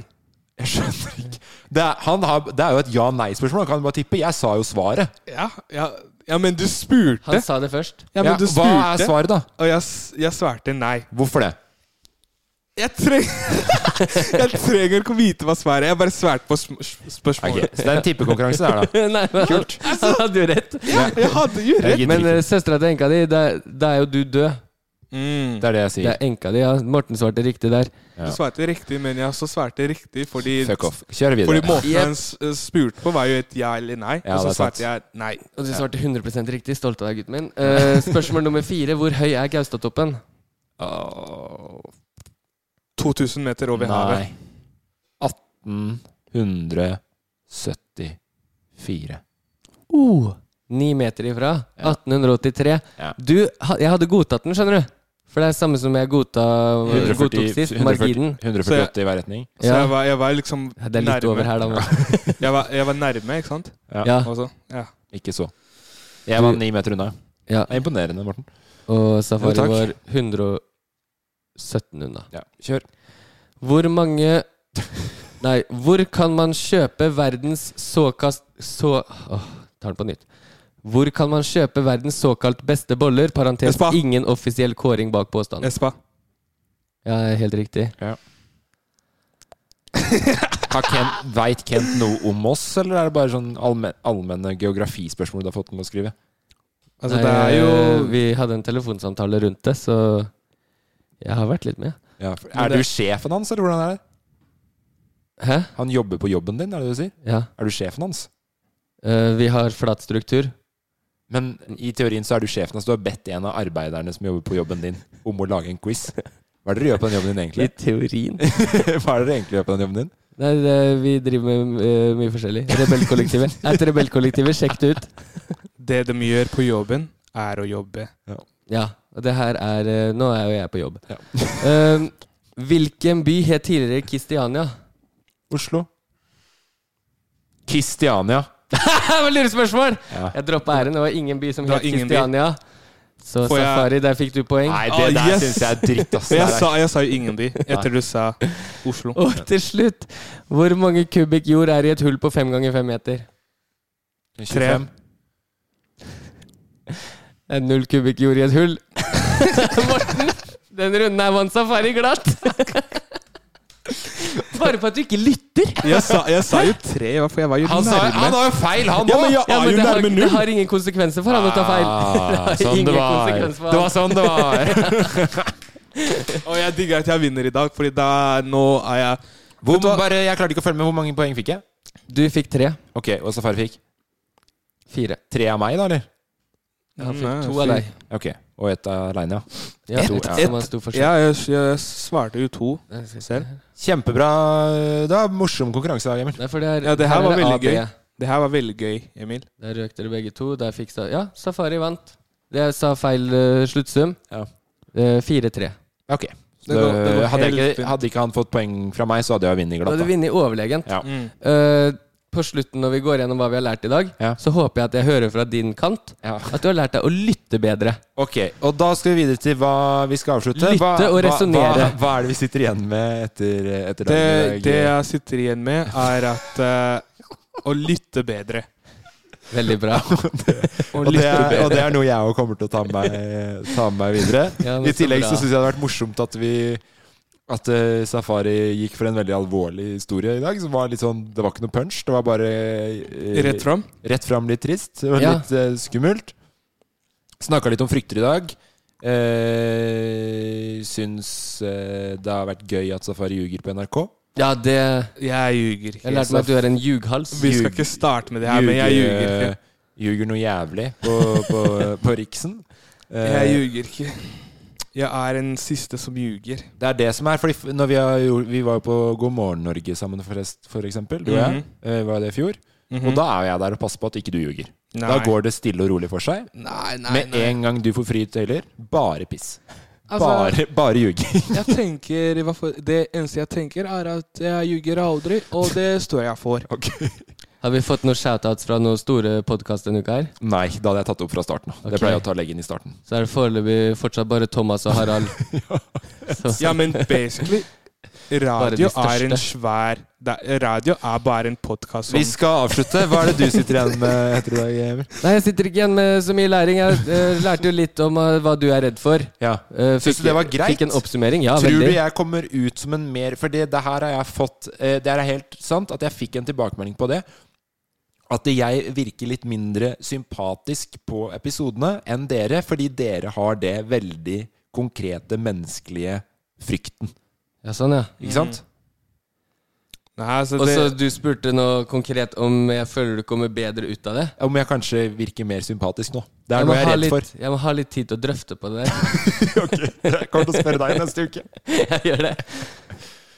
Speaker 5: Jeg skjønner ikke. Det er, han har, det er jo et ja-nei-spørsmål. Han kan bare tippe. Jeg sa jo svaret.
Speaker 6: Ja, ja, ja, men du spurte.
Speaker 4: Han sa det først.
Speaker 6: Ja, men
Speaker 5: Ja,
Speaker 6: du
Speaker 5: hva
Speaker 6: spurte.
Speaker 5: er svaret da?
Speaker 6: Og jeg, s- jeg svarte nei.
Speaker 5: Hvorfor det?
Speaker 6: Jeg trenger Jeg trenger ikke å vite hva svaret er. Jeg bare svarte på sm sp- spørsmålet.
Speaker 5: Ok, så det er en tippekonkurranse der, da.
Speaker 4: Nei, men han, han hadde jo rett.
Speaker 6: Ja, jeg hadde jo
Speaker 5: Jeg
Speaker 6: rett.
Speaker 5: gidder
Speaker 4: Men
Speaker 5: ikke.
Speaker 4: uh, søstera til enka di, da da er jo du død.
Speaker 6: Mm.
Speaker 5: Det er det jeg
Speaker 4: Det
Speaker 5: sier.
Speaker 4: er enka di, ja. Morten svarte riktig der.
Speaker 5: Ja.
Speaker 6: Du svarte riktig, men jeg også svarte riktig fordi
Speaker 5: Fuck off. Kjør
Speaker 6: Fordi
Speaker 5: videre.
Speaker 6: måten han s- spurte på, var jo et ja eller nei.
Speaker 5: Ja,
Speaker 6: og så
Speaker 5: det er sant.
Speaker 6: svarte jeg nei.
Speaker 4: Og du svarte 100 riktig. Stolt av deg, gutten min. Eh, spørsmål nummer fire. Hvor høy er Gaustatoppen?
Speaker 5: Åh,
Speaker 6: 2000 meter over
Speaker 5: Nei.
Speaker 6: havet.
Speaker 5: 1874.
Speaker 4: Oh, Ni meter ifra. 1883.
Speaker 5: Ja.
Speaker 4: Du, ha- jeg hadde godtatt den, skjønner du. For det er samme som jeg godta, godtok
Speaker 5: 140
Speaker 4: sist.
Speaker 5: 140
Speaker 4: Marginen.
Speaker 5: 148 i hver retning.
Speaker 6: Så
Speaker 4: Ja.
Speaker 6: jeg var, jeg var liksom
Speaker 4: Ja, Det er litt
Speaker 6: nærme.
Speaker 4: over her, da. men-
Speaker 6: Jeg var, jeg var nærme, ikke sant?
Speaker 4: Ja.
Speaker 6: Og så- ja.
Speaker 5: Ikke så. Jeg var ni meter unna.
Speaker 4: Ja.
Speaker 5: Det er imponerende, Morten.
Speaker 4: Og
Speaker 5: Jo,
Speaker 4: Safari
Speaker 5: takk.
Speaker 4: var 117 unna.
Speaker 5: Ja, kjør.
Speaker 4: Hvor mange Nei, hvor kan man kjøpe verdens såkast... Så... Åh, tar den på nytt. Hvor kan man kjøpe verdens såkalt beste boller? Parentes
Speaker 6: Espa.
Speaker 4: ingen offisiell kåring bak påstanden.
Speaker 6: Espa.
Speaker 4: Ja, helt riktig.
Speaker 5: Har Kent, veit Kent noe om oss, eller er det bare sånn allmen, allmenne geografispørsmål du har fått ham til å skrive?
Speaker 6: Altså,
Speaker 4: Nei, eh,
Speaker 6: det er jo
Speaker 4: Vi hadde en telefonsamtale rundt det, så jeg har vært litt med.
Speaker 5: Ja, for,
Speaker 4: Men
Speaker 5: er
Speaker 4: det-
Speaker 5: du sjefen hans, eller hvordan er det?
Speaker 4: Hæ?
Speaker 5: Han jobber på jobben din, er det det du sier?
Speaker 4: Ja.
Speaker 5: Er du sjefen hans?
Speaker 4: Eh, vi har flat struktur.
Speaker 5: Men i teorien så er du sjefen hans. Du har bedt en av arbeiderne som jobber på jobben din, om å lage en quiz. Hva er det dere gjør på den jobben din, egentlig?
Speaker 4: teorien.
Speaker 5: Hva er det dere egentlig gjør på den jobben din?
Speaker 4: Nei, det, vi driver med eh, mye forskjellig. Rebellkollektivet. Et rebellkollektivet, sjekk det ut.
Speaker 6: Det de gjør på jobben, er å jobbe.
Speaker 4: Ja, og det her er eh, Nå er jo jeg på jobb.
Speaker 5: Ja.
Speaker 4: Ehm, hvilken by het tidligere Kristiania?
Speaker 5: Oslo. Kristiania.
Speaker 4: Det var lurespørsmål!
Speaker 5: Ja.
Speaker 4: Jeg droppa æren. Det var ingen by som
Speaker 6: Det var
Speaker 4: het
Speaker 6: ingen by.
Speaker 4: Kristiania. Så
Speaker 6: Får jeg-
Speaker 4: Safari, der fikk du poeng.
Speaker 5: Nei, det
Speaker 6: Ah,
Speaker 5: der
Speaker 6: yes.
Speaker 5: syns jeg er dritt, ass.
Speaker 6: Jeg
Speaker 5: Det er-
Speaker 6: sa, jeg sa jo ingen by etter du sa Oslo.
Speaker 4: Og til slutt, hvor mange kubikk jord er i et hull på fem ganger fem meter?
Speaker 5: 25.
Speaker 4: Det er null kubikk jord i et hull. Morten, den runden her vant Safari glatt. Svarer på at du ikke lytter!
Speaker 6: Jeg sa, jeg sa jo tre, i hvert fall. Jeg var jo
Speaker 5: Han sa-
Speaker 6: nærme.
Speaker 5: han har jo feil, han
Speaker 6: ja,
Speaker 5: også.
Speaker 6: men jeg
Speaker 5: Ja,
Speaker 6: er
Speaker 5: men
Speaker 6: jo
Speaker 5: det har-
Speaker 6: nærme
Speaker 4: Det
Speaker 6: null.
Speaker 4: har ingen konsekvenser for han å ta feil. Det
Speaker 6: sånn
Speaker 4: har
Speaker 6: det
Speaker 4: ingen
Speaker 6: var.
Speaker 4: konsekvenser for han.
Speaker 6: Det var sånn det Og jeg digger at jeg vinner i dag, Fordi da nå er jeg
Speaker 5: Hvor, bare, jeg klarte ikke å følge med. Hvor mange poeng fikk jeg?
Speaker 4: Du fikk tre.
Speaker 5: Ok, Og Safari fikk?
Speaker 4: Fire.
Speaker 5: Tre av meg, da, eller?
Speaker 4: Han fikk to av deg.
Speaker 5: Ok, Og ett aleine, ja.
Speaker 4: Ja,
Speaker 5: To,
Speaker 4: ett
Speaker 5: ja.
Speaker 4: som var stor forskjell.
Speaker 6: Ja, jeg, jeg svarte jo to selv.
Speaker 5: Kjempebra. Det er morsom konkurranse, da, Emil.
Speaker 6: Ja, det her
Speaker 4: her er
Speaker 6: var
Speaker 4: det
Speaker 6: veldig
Speaker 4: AB.
Speaker 6: gøy. Det her var veldig gøy, Emil.
Speaker 4: Der røk dere begge to. Der fikk sa Ja, Safari vant. Jeg sa feil eh, sluttsum. Eh, 4-3.
Speaker 5: Ok. Så det, hadde, jeg ikke, hadde ikke han fått poeng fra meg, så hadde jeg vunnet
Speaker 4: Da
Speaker 5: glatt.
Speaker 4: hadde du
Speaker 5: Da.
Speaker 4: vunnet overlegent.
Speaker 5: Ja.
Speaker 4: Eh, på slutten, når vi går gjennom hva vi har lært i dag, så håper jeg at jeg hører fra din kant at du har lært deg å lytte bedre.
Speaker 5: Ok, Og da skal vi videre til hva vi skal avslutte.
Speaker 4: Lytte
Speaker 5: hva,
Speaker 4: og
Speaker 5: Hva,
Speaker 4: resonere.
Speaker 5: hva, hva er det vi sitter igjen med etter, etter eh,
Speaker 6: Det,
Speaker 5: dagen i dag?
Speaker 6: det jeg sitter igjen med, er at eh, Å lytte bedre.
Speaker 4: Veldig bra.
Speaker 5: og, det er, og det er noe jeg òg kommer til å ta med meg, ta med meg videre.
Speaker 4: Ja,
Speaker 5: I
Speaker 4: men så
Speaker 5: tillegg
Speaker 4: bra.
Speaker 5: så syns jeg det hadde vært morsomt at vi at eh, Safari gikk for en veldig alvorlig historie i dag. Som var litt sånn, Det var ikke noe punch. Det var bare eh,
Speaker 6: Rett fram?
Speaker 5: Rett fram litt trist. Det var
Speaker 6: Ja.
Speaker 5: Litt eh, skummelt. Snakka litt om frykter i dag. Uh, syns eh, det har vært gøy at Safari ljuger på NRK.
Speaker 4: Ja, det
Speaker 6: Jeg ljuger ikke.
Speaker 5: Jeg lærte meg at du er
Speaker 4: en ljughals.
Speaker 6: Vi skal ikke starte med det her, men jeg ljuger ikke.
Speaker 5: eh, Ljuger noe jævlig på, på, på Riksen. Eh,
Speaker 6: Jeg ljuger ikke. Jeg er en siste som ljuger.
Speaker 5: Det er det som er, fordi f- når vi, har, gjort- vi var jo på God morgen Norge sammen forrest, for eksempel, du og jeg,
Speaker 6: Mhm.
Speaker 5: eh, var det i fjor.
Speaker 6: Mhm.
Speaker 5: Og da er jo jeg der og passer på at ikke du ljuger. Da
Speaker 6: Nei.
Speaker 5: går det stille og rolig for seg. Med en gang du får frie tøyler, bare piss.
Speaker 6: Altså-
Speaker 5: bare bare ljuging.
Speaker 6: Jeg tenker, i hvert fall- Det eneste jeg tenker, er at jeg ljuger aldri, og det står jeg for.
Speaker 4: Har vi fått noen shoutouts fra noen store podkast denne uka her?
Speaker 5: Nei, da hadde jeg tatt det opp fra starten. da. Det
Speaker 4: Ok.
Speaker 5: pleier jeg å ta legge inn i starten.
Speaker 4: Så er det foreløpig fortsatt bare Thomas og Harald. Så-
Speaker 6: Ja, men basically
Speaker 4: Bare de
Speaker 6: Radio er en
Speaker 4: største.
Speaker 6: svær det- Radio er bare en podkast
Speaker 5: Vi skal avslutte. Hva er det du sitter igjen med etter i dag, Emil?
Speaker 4: Nei, jeg sitter ikke igjen med så mye læring. Jeg eh, lærte jo litt om eh, hva du er redd for.
Speaker 5: Ja.
Speaker 4: Eh,
Speaker 5: Syns du det var greit?
Speaker 4: Fikk en oppsummering. Ja,
Speaker 5: Tror
Speaker 4: veldig.
Speaker 5: du jeg kommer ut som en mer For det, det her har jeg fått eh, Det er helt sant at jeg fikk en tilbakemelding på det. At jeg virker litt mindre sympatisk på episodene enn dere, fordi dere har det veldig konkrete menneskelige frykten.
Speaker 4: Ja, sånn, ja.
Speaker 5: Ikke sant?
Speaker 6: altså,
Speaker 4: Og så du spurte noe konkret om jeg føler du kommer bedre ut av det.
Speaker 5: Om jeg kanskje virker mer sympatisk nå. Det er
Speaker 4: Jeg må
Speaker 5: noe jeg er
Speaker 4: ha
Speaker 5: redd
Speaker 4: litt,
Speaker 5: for.
Speaker 4: Jeg må ha litt tid til å drøfte på det der.
Speaker 5: Jeg kommer til å spørre deg neste uke.
Speaker 4: jeg gjør det.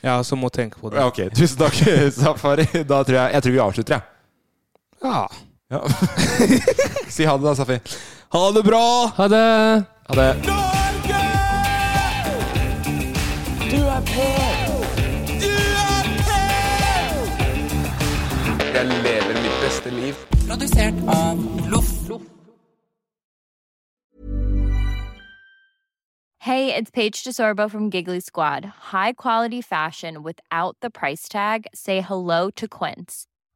Speaker 6: Ja, så må tenke på det.
Speaker 5: Ja, ok, Tusen takk, Safari. Da tror jeg, jeg tror vi avslutter, jeg.
Speaker 6: Ja.
Speaker 5: Ja. si ha det, da, Safi.
Speaker 6: Ha det bra!
Speaker 4: Ha det!
Speaker 5: Ha det.
Speaker 15: Du er på! Du er på!
Speaker 16: Jeg lever mitt beste liv.
Speaker 15: Produsert av Loff.
Speaker 17: Hey, it's Paige DeSorbo from Giggly Squad. High quality fashion without the price tag. Say hello to Quince.